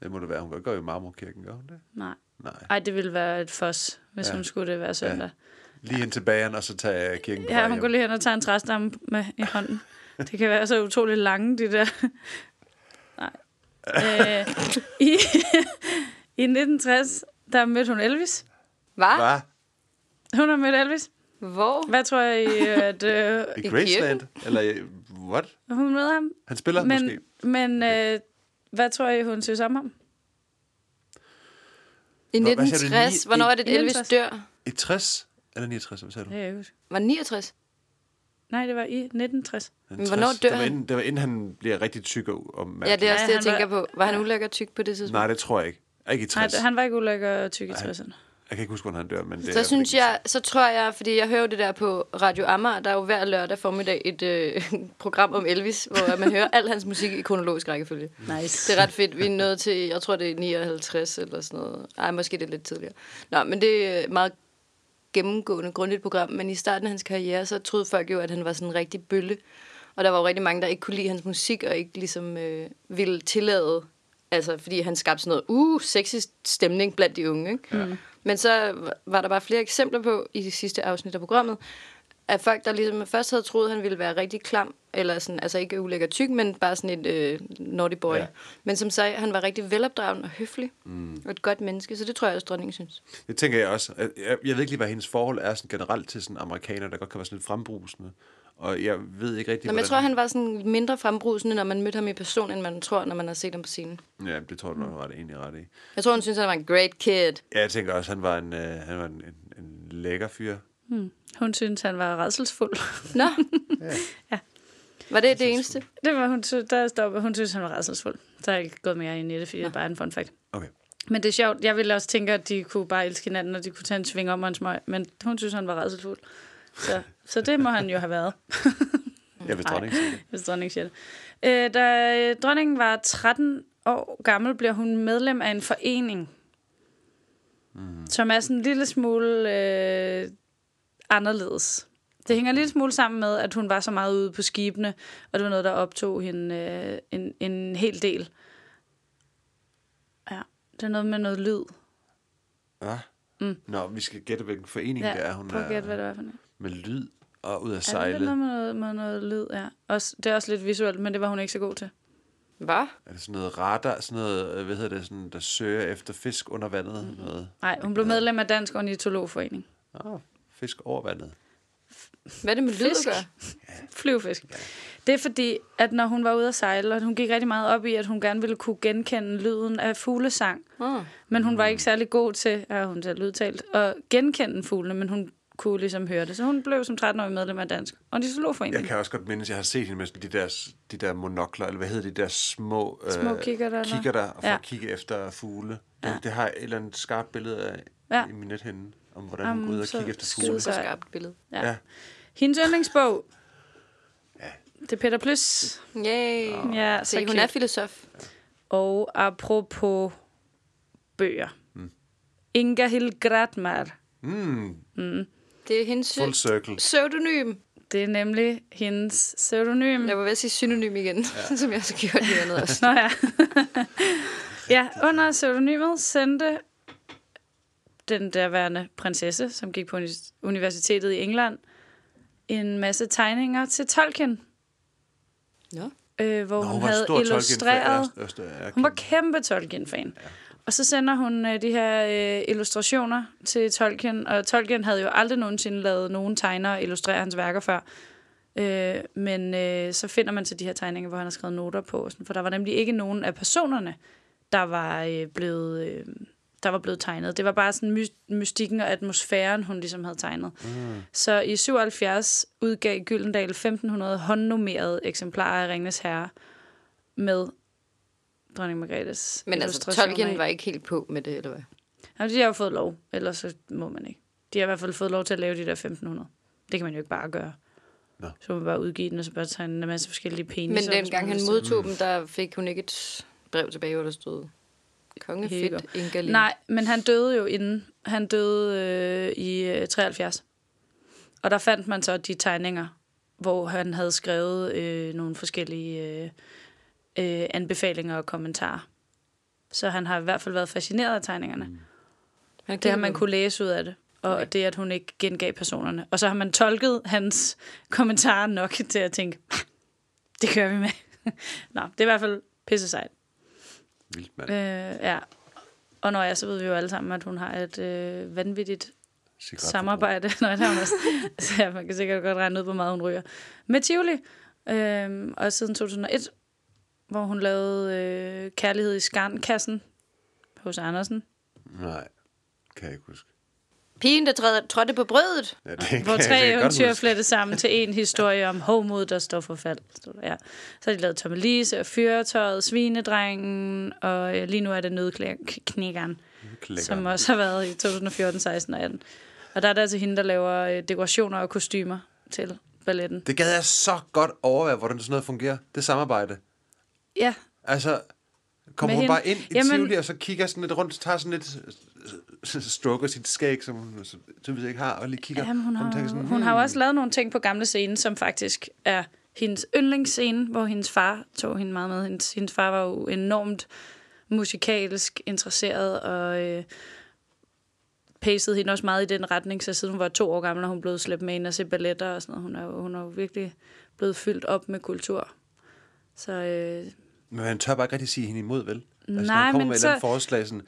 A: Det må det være. Hun gør- går jo i Marmorkirken, gør hun det?
B: Nej.
A: Nej.
B: Ej, det ville være et fos, hvis
A: Ja.
B: ja. hun skulle det hver søndag.
A: Lige hen til bageren, og så tager jeg kirken på
B: Ja,
A: vej
B: hun
A: hjem.
B: går lige hen og tager en træstamme med i hånden. Det kan være så utroligt lange, de der. Nej. Øh, i, I 1960, der mødte hun Elvis.
C: Hvad?
A: Hvad?
B: Hun har mødt Elvis.
C: Hvor?
B: Hvad tror jeg, at øh,
A: I,
C: I
A: Graceland? Eller i- what?
B: hun mødte ham?
A: Han spiller Men... måske.
B: Men, men øh, hvad tror jeg, hun synes om ham?
C: I
A: Hvor- hvad sagde du,
C: 1960.
A: ni-
C: Hvornår
A: i-
C: er det, at Elvis
B: 69?
C: dør?
A: I 60 eller 69, hvad sagde du?
B: Det kan jeg ikke huske.
C: Var det 69?
B: Nej, det var i 1960.
A: Men
C: Men hvornår dør
A: det var
C: han?
A: Inden, det var inden han bliver rigtig tyk og, og
C: Ja, det er også det, jeg
B: han var-
C: tænker på. Var han ulækker tyk på det tidspunkt?
A: Nej, det tror jeg ikke. Ikke i 60.
B: Nej,
A: Nej, han...
B: han var ikke ulykker og tyk i
A: Nej.
B: 60'erne.
A: Jeg kan ikke huske, hvornår han dør, men det er
C: Så synes
A: vigtigt.
C: jeg, så tror jeg, fordi jeg hører jo det der på Radio Amager, der er jo hver lørdag formiddag et øh, program om Elvis, hvor man hører al hans musik i kronologisk rækkefølge.
B: Nice.
C: Det er ret fedt. Vi er nået til, jeg tror det er 59 eller sådan noget. Ej, måske det er lidt tidligere. Nå, men det er et meget gennemgående, grundigt program. Men i starten af hans karriere, så troede folk jo, at han var sådan en rigtig bølle. Og der var jo rigtig mange, der ikke kunne lide hans musik, og ikke ligesom øh, ville tillade, altså fordi han skabte sådan noget, uh, sexy stemning blandt de unge. Ikke? Ja. Men så var der bare flere eksempler på i de sidste afsnit af programmet, at folk, der ligesom først havde troet, han ville være rigtig klam, eller sådan, altså ikke ulækker tyk, men bare sådan et øh, naughty boy.
A: Ja.
C: Ja. Men som sagde, han var rigtig velopdragen og høflig, mm. og et godt menneske, så det tror jeg også, dronningen synes.
A: Det tænker jeg også. Jeg, jeg, jeg ved ikke lige, hvad hendes forhold er sådan generelt til sådan amerikanere, der godt kan være sådan lidt frembrusende. Og jeg ved ikke rigtig,
C: Nå, men
A: hvordan...
C: jeg tror, han var sådan mindre frembrusende, når man mødte ham i person, end man tror, når man har set ham på scenen.
A: Ja, det tror jeg, du nok er ret, egentlig ret i.
C: Jeg tror, hun synes, han var en great kid.
A: Ja, jeg tænker også, han var en, øh, han var en, en, en lækker fyr.
B: Hun synes, han var redselsfuld.
C: Nå, var det det eneste?
B: det var hun, sy- der stopper. Hun synes, han var redselsfuld. Der er ikke gået mere ind i det, fordi det er bare en fun fact.
A: Okay.
B: Men det er sjovt. Jeg ville også tænke, at de kunne bare elske hinanden, og de kunne tage en sving om og en smøg. Men hun synes, han var redselsfuld. Så, så det må han jo have været.
A: Jeg vil
B: Nej.
A: dronning sige det.
B: Hvis dronningen siger det. Øh, da øh, dronningen var 13 år gammel, bliver hun medlem af en forening, mm. som er sådan en lille smule øh, anderledes. Det hænger en lille smule sammen med, at hun var så meget ude på skibene, og det var noget, der optog hende øh, en, en hel del. Ja, det er noget med noget lyd.
A: Ja. Mm. Nå, vi skal gætte, hvilken forening
B: Ja,
A: det er, hun
B: prøv at
A: er
B: gætte, hvad det var for en.
A: med lyd og ud at
B: Ja, det
A: sejle.
B: er noget med noget, med noget lyd, ja. Også, det er også lidt visuelt, men det var hun ikke så god til.
C: Hvad?
A: Er det sådan noget radar, sådan noget, øh, hvad hedder det, sådan, der søger efter fisk under vandet?
B: Mhm.
A: Mm. Noget.
B: Nej, hun blev medlem af Dansk Ornitologforening.
A: Ah, fisk over vandet.
C: Hvad er det med lyd at
B: Fisk.
C: gøre?
B: Flyvefisk. Det er fordi, at når hun var ude at sejle, og hun gik rigtig meget op i, at hun gerne ville kunne genkende lyden af fuglesang.
C: Ah.
B: Men hun var ikke særlig god til, at hun selv udtalt, at genkende fuglene, men hun kunne ligesom høre det. Så hun blev som 13-årig medlem af Dansk
A: Jeg
B: Ornitologforening.
A: kan også godt mindes, at jeg har set hende med sådan de der, de der monokler, eller hvad hedder de der små,
B: Små kikkerter, eller?
A: kigger der, for ja.
B: Ja.
A: at kigge efter fugle. Ja. Det, det, har jeg et eller andet skarpt billede af ja.
B: Ja.
A: i min nethænde, om hvordan
B: Jamen,
A: hun går ud og
B: så
A: kigger efter
B: skide
A: fugle.
C: Så
B: Så-
C: skarpt billede.
B: Ja.
A: Ja.
B: ja. Hendes yndlingsbog. Det er Peter Plys.
C: Yay.
B: Ja, så
C: Se, hun
B: cute.
C: er filosof.
B: Og apropos bøger.
C: Mm.
B: Inga Hill Gratmar.
A: Mm,
C: Det er hendes
A: full circle.
C: pseudonym.
B: Det er nemlig hendes pseudonym.
C: Jeg var ved at sige synonym igen, ja. som jeg så gjorde det andet også.
B: Nå ja. ja, under pseudonymet sendte den derværende prinsesse, som gik på uni- universitetet i England, en masse tegninger til Tolkien,
C: Nå.
B: øh, hvor
A: Nå,
B: hun, havde illustreret...
A: Tolkien-fan. Ja, ja,
B: Hun var kæmpe Tolkien-fan. Ja. Og så sender hun øh, de her øh, illustrationer til Tolkien, og Tolkien havde jo aldrig nogensinde lavet nogen tegner og illustrere hans værker før. Øh, men øh, så finder man så de her tegninger, hvor han har skrevet noter på, og sådan, for der var nemlig ikke nogen af personerne, der var øh, blevet øh, der var blevet tegnet. Det var bare sådan my- mystikken og atmosfæren, hun ligesom havde tegnet. Mm. Så i 77 udgav Gyldendal 1500 håndnummerede eksemplarer af Ringnes Herre med dronning Margrethes
C: Men altså,
B: illustrationer i.
C: Tolkien var ikke helt på med det, eller hvad?
B: Jamen, de har jo fået lov, ellers så må man ikke. De har i hvert fald fået lov til at lave de der 1500. Det kan man jo ikke bare gøre.
A: Nå.
B: Så må man bare udgive den, og så bare tegne en masse forskellige peniser.
C: Men
B: hvis man
C: dengang
B: har
C: han
B: lyst til.
C: modtog dem, der fik hun ikke et brev tilbage, hvor der stod
B: Heger.
C: kongefedt Ingerlin.
B: Nej, men han døde jo inden. Han døde øh, i øh, 73. Og der fandt man så de tegninger, hvor han havde skrevet øh, nogle forskellige øh, øh, anbefalinger og kommentarer. Så han har i hvert fald været fascineret af tegningerne. Mm.
C: han
B: Det har man kunne læse ud af det. Og okay. det, at hun ikke gengav personerne. Og så har man tolket hans kommentarer nok til at tænke, det kører vi med. Nå, det er i hvert fald pisse sejt.
A: Vildt, mand.
B: Øh, ja. Og når jeg, så ved vi jo alle sammen, at hun har et øh, vanvittigt
A: Cigaretforbrug.
B: samarbejde. Nå, det har hun også. så ja, man kan sikkert godt regne ud, hvor meget hun ryger. Med Tivoli. Øh, og siden 2001, hvor hun lavede øh, Kærlighed i Skarnkassen hos Andersen.
A: Nej, kan jeg ikke huske.
C: Pigen, der træder, trådte på brødet.
A: Ja, det kan
B: Hvor
A: jeg
B: tre
A: sikkert godt
B: eventyr
A: huske.
B: flettes sammen til en historie om hovmod, der står for fald. Stod der, Ja. Så har de lavet Tommelise og Fyretøjet, Svinedrengen, og øh, lige nu er det Nødknækkeren,
A: Klækker.
B: som også har været i 2014, 16 og 18. Og der er det altså hende, der laver øh, dekorationer og kostymer til balletten.
A: Det gad jeg så godt overveje, hvordan sådan noget fungerer. Det samarbejde.
B: Ja,
A: Altså, kommer
B: Med
A: hun
B: hende?
A: bare ind i Jamen...
B: Jamen-
A: Tivoli, og så kigger sådan lidt rundt, tager sådan lidt øh, stroker sit skæg, som hun så- tydeligvis ikke har, og lige kigger.
B: Jamen, hun,
A: og
B: har,
A: tænker "Hmm."
B: sådan, hun har jo også lavet nogle ting på gamle scene, som faktisk er hendes yndlingsscene, hvor hendes far tog hende meget med. Hendes, hendes far var jo enormt musikalsk interesseret og øh, pacede hende også meget i den retning, så siden hun var to år gammel, og hun blev slæbt med ind og se balletter og sådan noget. Hun er, jo- hun er jo virkelig blevet fyldt op med kultur. Så øh,
A: Men han tør bare ikke rigtig sige hende imod, vel? Altså, når
B: Nej,
A: hun kommer
B: men
A: med et eller andet
B: så-
A: forslag, sådan,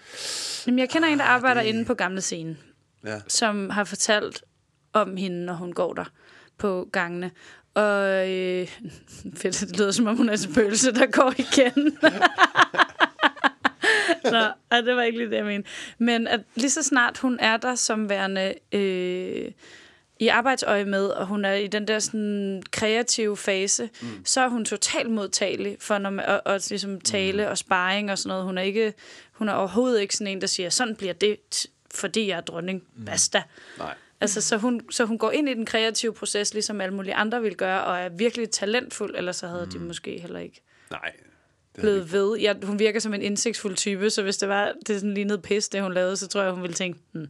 B: jamen, jeg kender en,
A: Ah,
B: der arbejder inde på gamle scene.
A: ja,
B: som har fortalt om hende, når hun går der på gangene. Og øh, fedt, det lyder som om hun er en spøgelse, der går igen. Nå, ej, det var ikke lige det, jeg mente. Men at lige så snart hun er der som værende øh, i arbejdsøje med, og hun er i den der sådan, kreative fase, mm. så er hun totalt modtagelig for når man, og, og ligesom tale og sparring og sådan noget. Hun er, ikke, hun er overhovedet ikke sådan en, der siger, sådan bliver det, fordi jeg er dronning. Basta.
A: nej.
B: Altså, så hun, så hun går ind i den kreative proces, ligesom alle mulige andre vil gøre, og er virkelig talentfuld, ellers så havde mm. de måske heller ikke
A: Nej. Det havde vi
B: blevet ved. Ja, hun virker som en indsigtsfuld type, så hvis det var det sådan lignede pis, det hun lavede, så tror jeg, hun ville tænke, hm,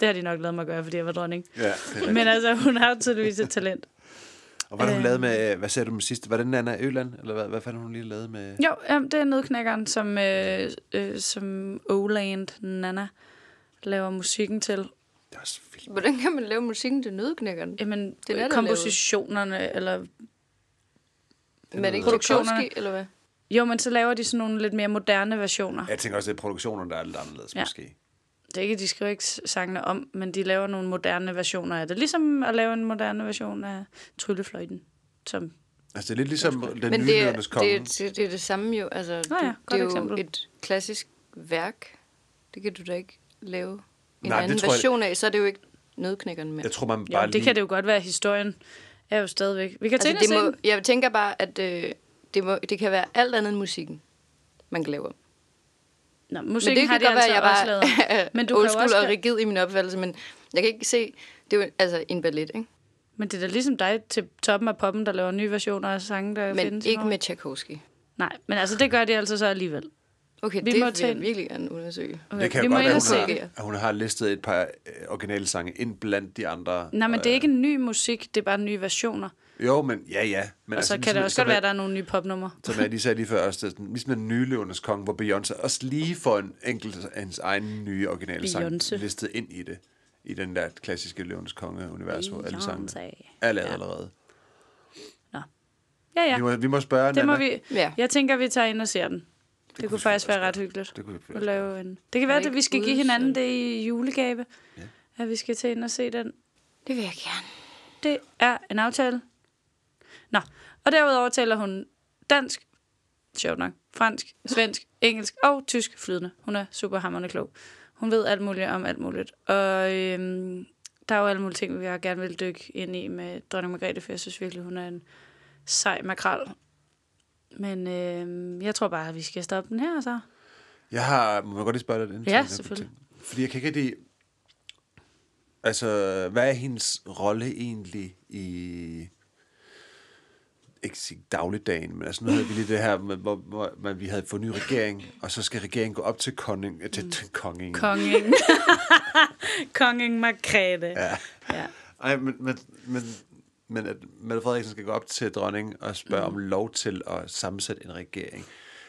B: det har de nok lavet mig gøre, fordi jeg var dronning.
A: ikke. Ja, det er rigtigt.
B: Men altså, hun har jo tydeligvis et talent.
A: og hvad har hun
B: øh,
A: lavet med, øh, hvad sagde du med sidst? Var det Nana Øland? Eller hvad, hvad fanden har hun lige lavet med?
B: Jo, jamen, det er nødknækkeren, som, øh, øh, som Oland Nana laver musikken til.
A: Det er også vildt.
C: Hvordan kan man lave musikken til nødknækkeren?
B: Jamen,
C: er der
B: det er
C: lavet.
B: kompositionerne, eller
C: Men er det ikke
B: Produktionerne.
C: Tchaikovsky, eller hvad?
B: jo, men så laver de sådan nogle lidt mere moderne versioner.
A: Jeg tænker også, det er produktionerne, der er lidt anderledes, ja.
B: Ja.
A: måske.
B: det er ikke, de skriver ikke sangene om, men de laver nogle moderne versioner af det. Ligesom at lave en moderne version af Tryllefløjten. Som,
A: Altså, det er lidt ligesom den
C: Men
A: nye
C: det er,
A: Lødernes
C: det,
A: Konge.
C: er, det, det er det samme jo. Altså, du,
B: ja,
C: det
B: godt
C: er jo
B: eksempel.
C: et klassisk værk. Det kan du da ikke lave en
A: Nej, det
C: anden
A: tror jeg-
C: version af, så er det jo ikke nødknækkeren mere.
A: Jeg tror, man
B: jo,
A: bare
B: det
A: lige...
B: kan det jo godt være, historien er jo stadigvæk... Vi kan
C: Altså,
B: tænke
C: det
B: altså,
C: må,
B: må...
C: jeg tænker bare, at øh, det, må, det kan være alt andet end musikken, man kan lave om.
B: Nå,
C: Men
B: musikken
C: det
B: har
C: kan
B: de
C: godt være,
B: altså
C: at jeg
B: også lavet.
C: bare
B: Men du
C: old
B: kan jo
C: school og
B: også...
C: rigid i min opfattelse, men jeg kan ikke se, det er jo altså en ballet, ikke?
B: Men det er da ligesom dig til toppen af poppen, der laver nye versioner af sange, der
C: men
B: findes.
C: ikke
B: nu.
C: med Tchaikovsky.
B: Nej, vi må altså det gør de altså så alligevel.
C: Okay,
B: Vi
C: det
B: må
C: vil
B: tage
C: jeg
B: en-
C: virkelig gerne undersøge.
B: Okay.
A: Det kan
B: vi
A: jo
B: må
A: godt
B: ind
A: være,
B: og
A: at
B: se
A: hun,
B: det.
A: har, at hun har listet et par øh, originale sange ind blandt de andre.
B: Nej, men
A: Og,
B: det er
A: øh,
B: ikke en ny musik, det er bare nye versioner.
A: Jo, men ja, ja. Men
B: Og så kan
A: ligesom-
B: det også
A: som
B: godt være,
A: jeg-
B: at der er nogle nye popnumre.
A: Som jeg lige sagde lige før, også, det er sådan, ligesom den nye Løvenes Konge, hvor Beyoncé også lige får en enkelt hans egen nye originale sang
B: Beyoncé.
A: listet ind i det. I den der klassiske Løvenes Konge-univers, hvor alle sangene
B: Beyoncé.
A: er lavet allerede.
B: Nå. Ja, ja.
A: Vi må, vi må spørge
B: Det må
A: Nana.
B: vi.
C: Ja.
B: Ja. Jeg tænker, vi tager ind og ser den. Det, det kunne faktisk være ret hyggeligt.
A: Det kunne vi
B: at
A: faktisk
B: lave en. Det kan være,
C: ikke
B: at vi skal
C: ude
B: give hinanden
C: selv?
B: det i julegave. Ja. At vi skal tage ind og se den.
C: Det vil jeg gerne.
B: Det er en aftale. Nå, og derudover taler hun dansk, sjovt nok, fransk, svensk, engelsk og tysk flydende. Hun er super hammerende klog. Hun ved alt muligt om alt muligt. Og øhm, der er jo alle mulige ting, jeg gerne vil dykke ind i med dronning Margrethe, for jeg synes virkelig, hun er en sej makrel. Men øhm, jeg tror bare, at vi skal stoppe den her, så.
A: Jeg har... Må jeg godt lige spørge dig den?
B: Ja, selvfølgelig.
A: Fordi jeg kan ikke rigtig... Altså, hvad er hendes rolle egentlig i... Ikke sige dagligdagen, men altså nu havde vi lige det her, med, hvor, hvor man, vi havde fået ny regering, og så skal regeringen gå op til kongen. øh, Til, til kongen.
B: Kongen. Kongen Margrethe.
A: Ja.
B: ja.
A: Ej, men, men, men, men at Mette Frederiksen skal gå op til dronningen og spørge mm. om lov til at sammensætte en regering.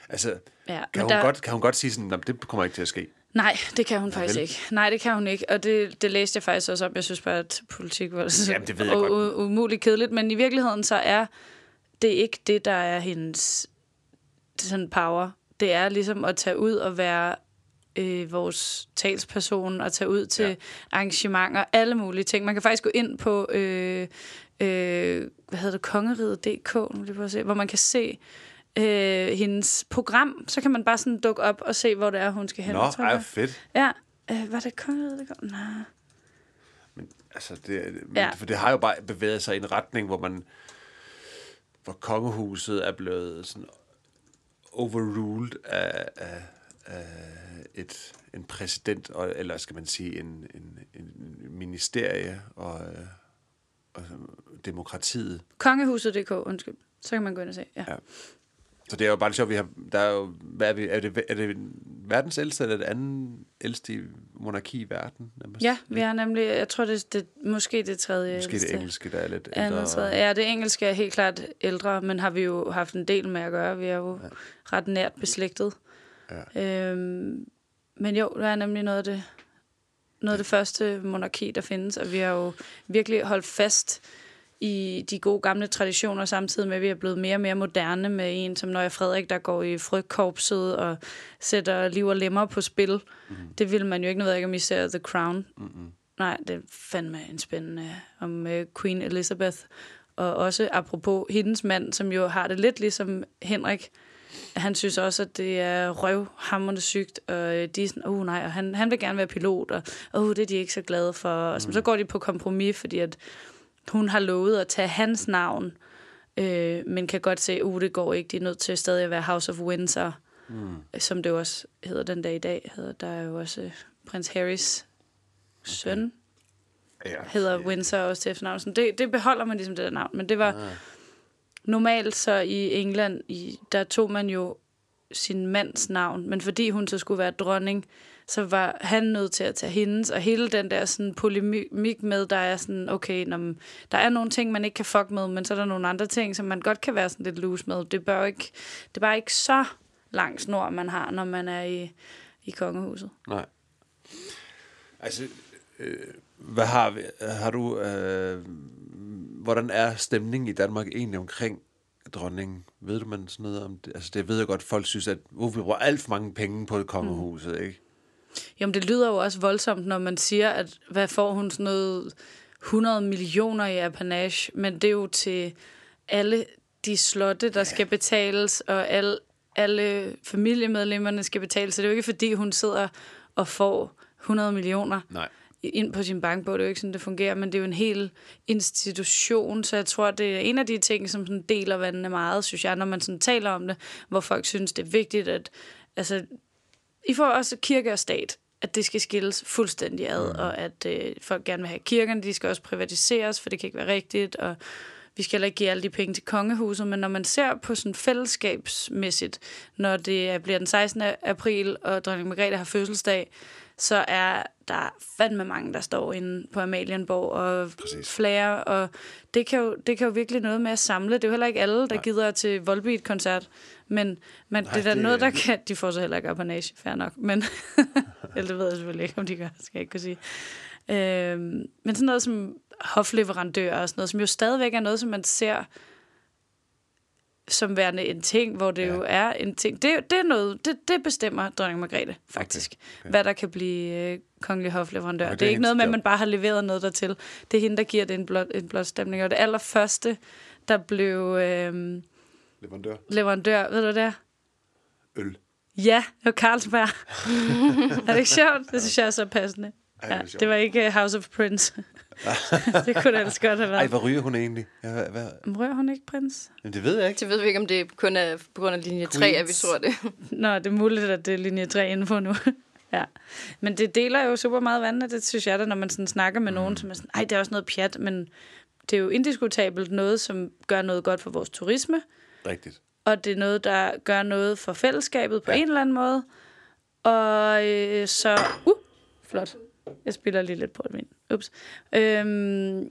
A: Altså, ja,
B: men
A: kan, hun der...
B: der-
A: godt, kan hun godt sige sådan, "Nå, men det kommer ikke til at ske?
B: Nej, det kan hun faktisk
A: vel.
B: ikke. Nej, det kan hun ikke. Og det, det læste jeg faktisk også om. Jeg synes bare, at politik var så
A: Jamen, det ved jeg
B: u-
A: godt.
B: u- umuligt kedeligt. Men i virkeligheden, så er det ikke det, der er hendes sådan power. Det er ligesom at tage ud og være øh, vores talsperson og tage ud til
A: Ja.
B: ja. arrangementer, alle mulige ting. Man kan faktisk gå ind på, øh, øh, hvad hedder det, kongeriget.dk, nu vil jeg prøve at se, hvor man kan se øh, hendes program. Så kan man bare sådan dukke op og se, hvor det er, hun skal hen.
A: Nå,
B: tror jeg.
A: ej, fedt.
B: Ja. Øh, var det kongeriget, der kom? Nej.
A: Men, altså, det, men, ja.
B: Ja.
A: for det har jo bare bevæget sig i en retning, hvor man hvor kongehuset er blevet sådan overruled af, af, af et, en præsident, og, eller skal man sige en, en, en ministerie og, øh, og demokratiet.
B: Kongehuset.dk, undskyld. Så kan man gå ind og se. Ja.
A: Ja. Så det er jo bare lidt sjovt, vi har, der er jo, hvad er, vi, er, det, er det verdens ældste, eller det anden ældste monarki i verden? nærmest?
B: ja, vi har nemlig, jeg tror, det er det, måske det tredje.
A: Måske det
B: ældste.
A: engelske, der er lidt
B: Andet, tredje. Ja, det engelske er helt klart ældre, men har vi jo haft en del med at gøre. Vi er jo ja. ret nært beslægtet. Ja. Øhm, men jo, der er nemlig noget af det, noget af det første monarki, der findes, og vi har jo virkelig holdt fast i de gode gamle traditioner, samtidig med, at vi er blevet mere og mere moderne med en som Nøje Frederik, der går i frygtkorpset og sætter liv og lemmer på spil. Mm. Det ville man jo ikke, nu ved jeg ikke, om I ser The Crown. Mm-hmm. Nej, det er fandme en spændende om øh, Queen Elizabeth. Og også apropos hendes mand, som jo har det lidt ligesom Henrik, han synes også, at det er røvhammerende sygt, og øh, de er sådan, oh nej, og han, han vil gerne være pilot, og oh, det er de ikke så glade for. Og så, så går de på kompromis, fordi at hun har lovet at tage hans navn, øh, men kan godt se, oh, det går ikke, de er nødt til stadig at være House of Windsor, mm. som det jo også hedder den dag i dag, hedder der er jo også øh, prins Harrys søn, okay
A: ja.
B: hedder Windsor også til efternavn. Sådan, Det, det beholder man ligesom det der navn, men det
A: Ah.
B: var normalt så i England, i, der tog man jo sin mands navn, men fordi hun så skulle være dronning, så var han nødt til at tage hendes, og hele den der sådan polemik med, der er sådan, okay, når man, der er nogle ting, man ikke kan fuck med, men så er der nogle andre ting, som man godt kan være sådan lidt loose med. Det, bør jo ikke, det er bare ikke så lang snor, man har, når man er i, i kongehuset.
A: Nej. Altså, øh, hvad har vi? Har du... Øh, hvordan er stemningen i Danmark egentlig omkring dronningen? Ved du man sådan noget om det? Altså, det ved jeg godt, folk synes, at uh, vi bruger alt for mange penge på kongehuset, mm. ikke?
B: Jamen, det lyder jo også voldsomt, når man siger, at hvad får hun sådan noget 100 millioner i apanage, men det er jo til alle de slotte, der skal betales, og alle, alle familiemedlemmerne skal betale, så det er jo ikke, fordi hun sidder og får 100 millioner
A: Nej.
B: ind på sin bankbog. Det er jo ikke sådan, det fungerer, men det er jo en hel institution, så jeg tror, det er en af de ting, som sådan deler vandene meget, synes jeg, når man sådan taler om det, hvor folk synes, det er vigtigt, at altså, i får også kirke og stat, at det skal skilles fuldstændig
A: Mm.
B: ad, og at øh, folk gerne vil have kirkerne, de skal også privatiseres, for det kan ikke være rigtigt, og vi skal heller ikke give alle de penge til kongehuset, men når man ser på sådan fællesskabsmæssigt, når det er- bliver den 16. april, og dronning Margrethe har fødselsdag, så er der fandme mange, der står inde på Amalienborg og
A: Præcis.
B: flager, og det kan, jo, det kan jo virkelig noget med at samle. Det er jo heller ikke alle, der gider til Volbeat-koncert, men, men
A: Nej,
B: det er da
A: det-
B: noget, der kan... De får så heller ikke apanage, fair nok. Men, eller det ved jeg selvfølgelig ikke, om de gør, skal jeg ikke kunne sige. Øhm, men sådan noget som hofleverandører og sådan noget, som jo stadigvæk er noget, som man ser som værende en ting, hvor det
A: Ja.
B: ja. jo er en ting. Det, det er noget, det, det bestemmer dronning Margrethe faktisk, okay, okay. hvad der kan blive øh, kongelig hofleverandør.
A: Okay,
B: Okay, det,
A: det er
B: er ikke noget med, at
A: hendes
B: man bare har leveret noget dertil. Det er hende, der giver det en blot, en blot stemning. Og det allerførste, der blev øh,
A: Leverandør.
B: leverandør, ved du det er?
A: Øl.
B: Ja, det var Carlsberg. er det ikke sjovt? Det synes jeg er så passende.
A: Ej, hvor
B: Ja,
A: sjovt.
B: det var ikke øh, House of Prince. det kunne det ellers godt have
A: Ej,
B: været.
A: hvor ryger hun egentlig? Ja, hvad, hvad?
B: Rører hun ikke prins?
A: Jamen, det ved jeg ikke.
C: Det ved vi ikke, om det kun er på grund af linje 3, at vi
A: Queens.
C: tror det.
B: Nå, det er muligt, at det er linje 3 info nu. ja. Men det deler jo super meget vand, og det synes jeg da, når man sådan snakker med
A: Mm.
B: nogen, som er sådan, ej, det er også noget pjat, men det er jo indiskutabelt noget, som gør noget godt for vores turisme,
A: Rigtigt.
B: og det er noget, der gør noget for fællesskabet på ja. en eller anden måde. Og øh, så... Uh, flot. Jeg spiller lige lidt på min. Ups. Øhm,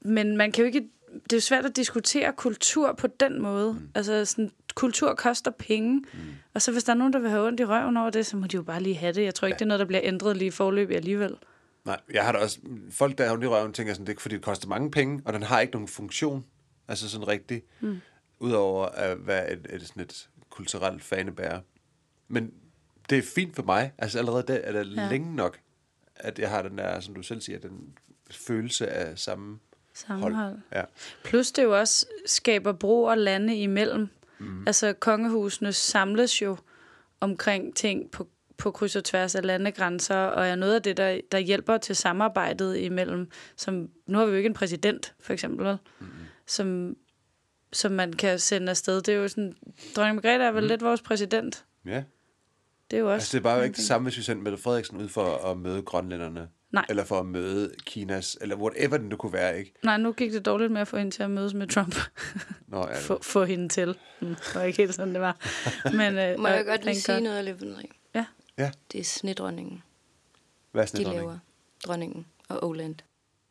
B: men man kan jo ikke... Det er jo svært at diskutere kultur på den måde. Mm. Altså, sådan, kultur koster penge. Mm. Og så hvis der er nogen, der vil have ondt i røven over det, så må de jo bare lige have det. Jeg tror ikke, ja. det er noget, der bliver ændret lige i forløbet alligevel.
A: Nej, jeg har da også... Folk, der har ondt i røven, tænker sådan, det er fordi, det koster mange penge, og den har ikke nogen funktion. Altså sådan rigtig. Mm. Udover at være et, et, sådan et kulturelt fanebærer. Men det er fint for mig. Altså allerede det er det ja.
B: Ja.
A: længe nok, at jeg har den der, som du selv siger, den følelse af samme
B: Sammenhold.
A: Ja.
B: Plus det jo også skaber bro og lande imellem. Mm. Altså kongehusene samles jo omkring ting på, på kryds og tværs af landegrænser, og er noget af det, der, der hjælper til samarbejdet imellem. Som, nu har vi jo ikke en præsident, for eksempel, vel? Mm. som, som man kan sende afsted. Det er jo sådan, dronning Margrethe er vel mm. lidt vores præsident.
A: Ja.
B: Det er jo også...
A: Altså, det er bare ikke det samme, hvis vi sendte Mette Frederiksen ud for at møde grønlænderne.
B: Nej.
A: Eller for at møde Kinas, eller whatever det nu kunne være, ikke?
B: Nej, nu gik det dårligt med at få hende til at mødes med Trump.
A: Nå, ja.
B: få, få hende til. Mm, det var ikke helt sådan, det var. Men, øh,
C: Må jeg
B: og
C: godt lige
B: thank
C: sige
B: God.
C: noget af Løbendring?
B: Ja.
A: ja.
C: Det er snedronningen,
A: Hvad er
C: de
A: snedronning?
C: laver. Dronningen og Oland.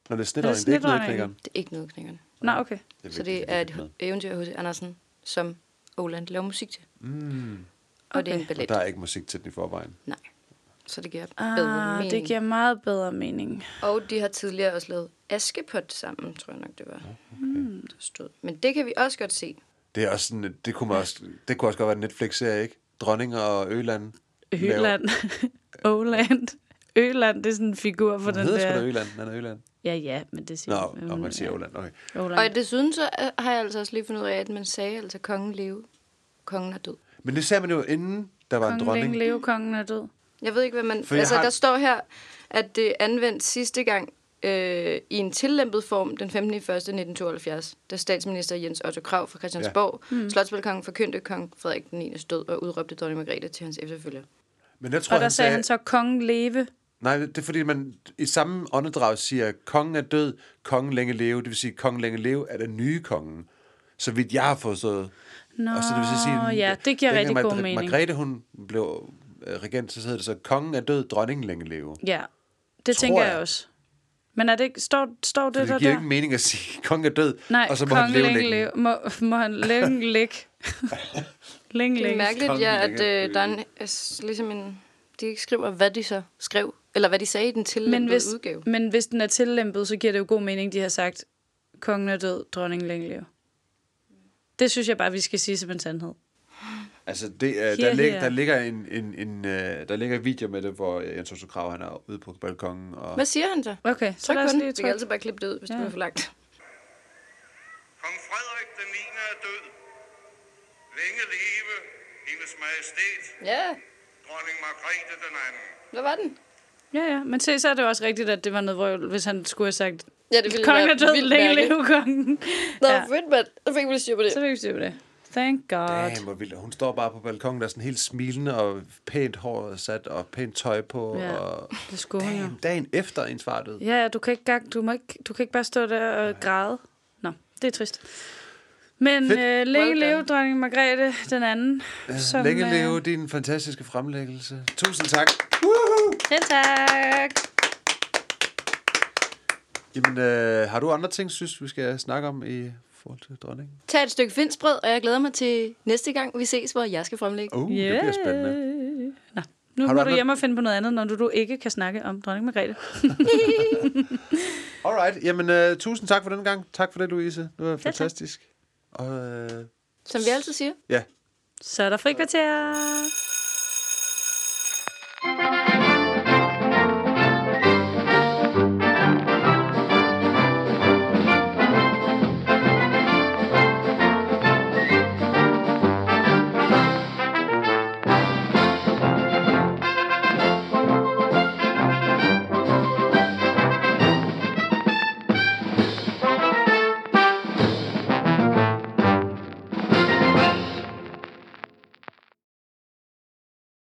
A: Når det er snedronning, det er ikke
B: snedronningen?
A: nødknækkeren.
C: Det er ikke noget knækkerne.
B: Nå, okay.
C: Så det er et eventyr hos Andersen, som Oland laver musik til. Mm. Og det er
B: Okay.
C: en
A: Og
C: ballet.
A: der er ikke musik til den i forvejen.
C: Nej. Så det giver bedre
B: Ah,
C: mening.
B: det giver meget bedre mening.
C: Og de har tidligere også lavet Askepot sammen, tror jeg nok, det var. Okay. Mm. Der stod. Men det kan vi også godt se.
A: Det er også sådan, et- det kunne, man også, det kunne også godt være en Netflix-serie, ikke? Dronning og Øland.
B: Øland. Åland. Øland, det er sådan en figur for
A: Hun
B: den
A: hedder sgu da
B: der...
A: Øland. Den er Øland.
B: Ja, ja, men det siger
A: Nå, nå man siger
B: ja.
A: Øland. Okay.
B: Åland.
C: Og desuden så øh, har jeg altså også lige fundet ud af, at man sagde altså, kongen leve, kongen er død.
A: Men det sagde man jo, inden der var en
B: Kongen
A: dronning.
B: længe leve, kongen er død.
C: Jeg ved ikke, hvad man...
A: For jeg
C: altså,
A: har-
C: der står her, at det er anvendt sidste gang øh, i en tillæmpet form den 15. 1. 1972, da statsminister Jens Otto Krav fra Christiansborg, ja. mm. slotsbalkongen forkyndte kong Frederik den 9. død og udråbte dronning Margrethe til hans efterfølger.
A: Men jeg tror,
B: Og der
A: han
B: sagde
A: sagde...
B: han så, kongen leve.
A: Nej, det er fordi, man i samme åndedrag siger, at kongen er død, kongen længe leve. Det vil sige, at kongen længe leve er den nye kongen. Så vidt jeg har forstået.
B: Nå,
A: Og så det vil så sige,
B: ja, det giver
A: dengang
B: rigtig
A: Mar-
B: god mening.
A: Margrethe, hun blev øh, regent, så hedder det så, kongen er død, dronningen længe leve.
B: Ja, det
A: Tror
B: tænker jeg
A: jeg.
B: også. Men er det ikke, står, står det,
A: Det,
B: der
A: det giver
B: der?
A: ikke mening at sige, kongen er død,
B: Nej,
A: og så må han
B: kongen
A: leve længe.
B: længe leve. Må, må han længe ligge. længe
C: Det er
B: ligge.
C: mærkeligt,
A: kongen
C: ja, at
A: ligger-
C: øh, der er en, altså, ligesom en... De ikke skriver, hvad de så skrev, eller hvad de sagde i den
B: Men
C: tillæmpede
B: hvis,
C: udgave.
B: men hvis den er tillæmpet, så giver det jo god mening, de har sagt, kongen er død, dronningen længe leve. Det synes jeg bare, vi skal sige som en sandhed.
A: Altså, det, øh, der,
B: Her,
A: lig,
B: her.
A: der ligger en, en, en øh, der ligger et video med det, hvor øh, Jens Otto Krav, han er ude på balkongen. Og...
C: Hvad siger han så?
B: Okay, så
C: Tryk
B: lad
C: på
B: os
C: den.
B: lige
C: Vi kan
B: trykke.
C: altid bare klippe det ud, hvis ja. det
B: Ja.
C: er for langt.
D: Kong Frederik den 9. er død. Længe leve hendes majestæt,
C: Ja,
D: dronning Margrethe den anden.
C: hvad var den?
B: Ja, ja, men se, så er det jo også rigtigt, at det var noget vrøvl, hvis han skulle have sagt,
C: Ja, det ville
B: kongen
C: være
B: er død,
C: vildt
B: længe
C: mærkeligt.
B: leve kongen.
C: Nå,
B: Ja,
C: fedt, mand. Så fik vi lige styr på det.
B: så fik vi se det. Thank God.
A: Damn, hvor vildt. Hun står bare på balkongen, der er sådan helt smilende og pænt hår sat og pænt tøj på.
B: Ja,
A: Ja. Og...
B: det skulle hun jo.
A: Damn, dagen efter ens far er død.
B: Ja, ja, du kan ikke, gang, du må ikke, du kan ikke bare stå der og græde. Nå, det er trist. Men
A: Fedt.
B: øh,
C: Well
B: længe leve, dronning Margrethe, den anden.
A: Som, Altså, Længe
B: øh,
A: leve din fantastiske fremlæggelse. Tusind tak.
B: Selv tak.
A: Jamen, øh, har du andre ting, synes vi skal snakke om i forhold til dronningen?
C: Tag et stykke finsbrød, og jeg glæder mig til næste gang, vi ses, hvor jeg skal fremlægge.
A: Uh, yeah. det bliver spændende.
B: Nå,
A: Har du
B: nu må du
A: andre-
B: hjemme og finde på noget andet, når du, du ikke kan snakke om dronning Margrethe.
A: Alright, jamen øh, tusind tak for den gang. Tak for det, Louise. Det var
B: tak.
A: fantastisk. Og øh,
C: Som vi altid siger.
A: ja,
B: Så er der frikvarter.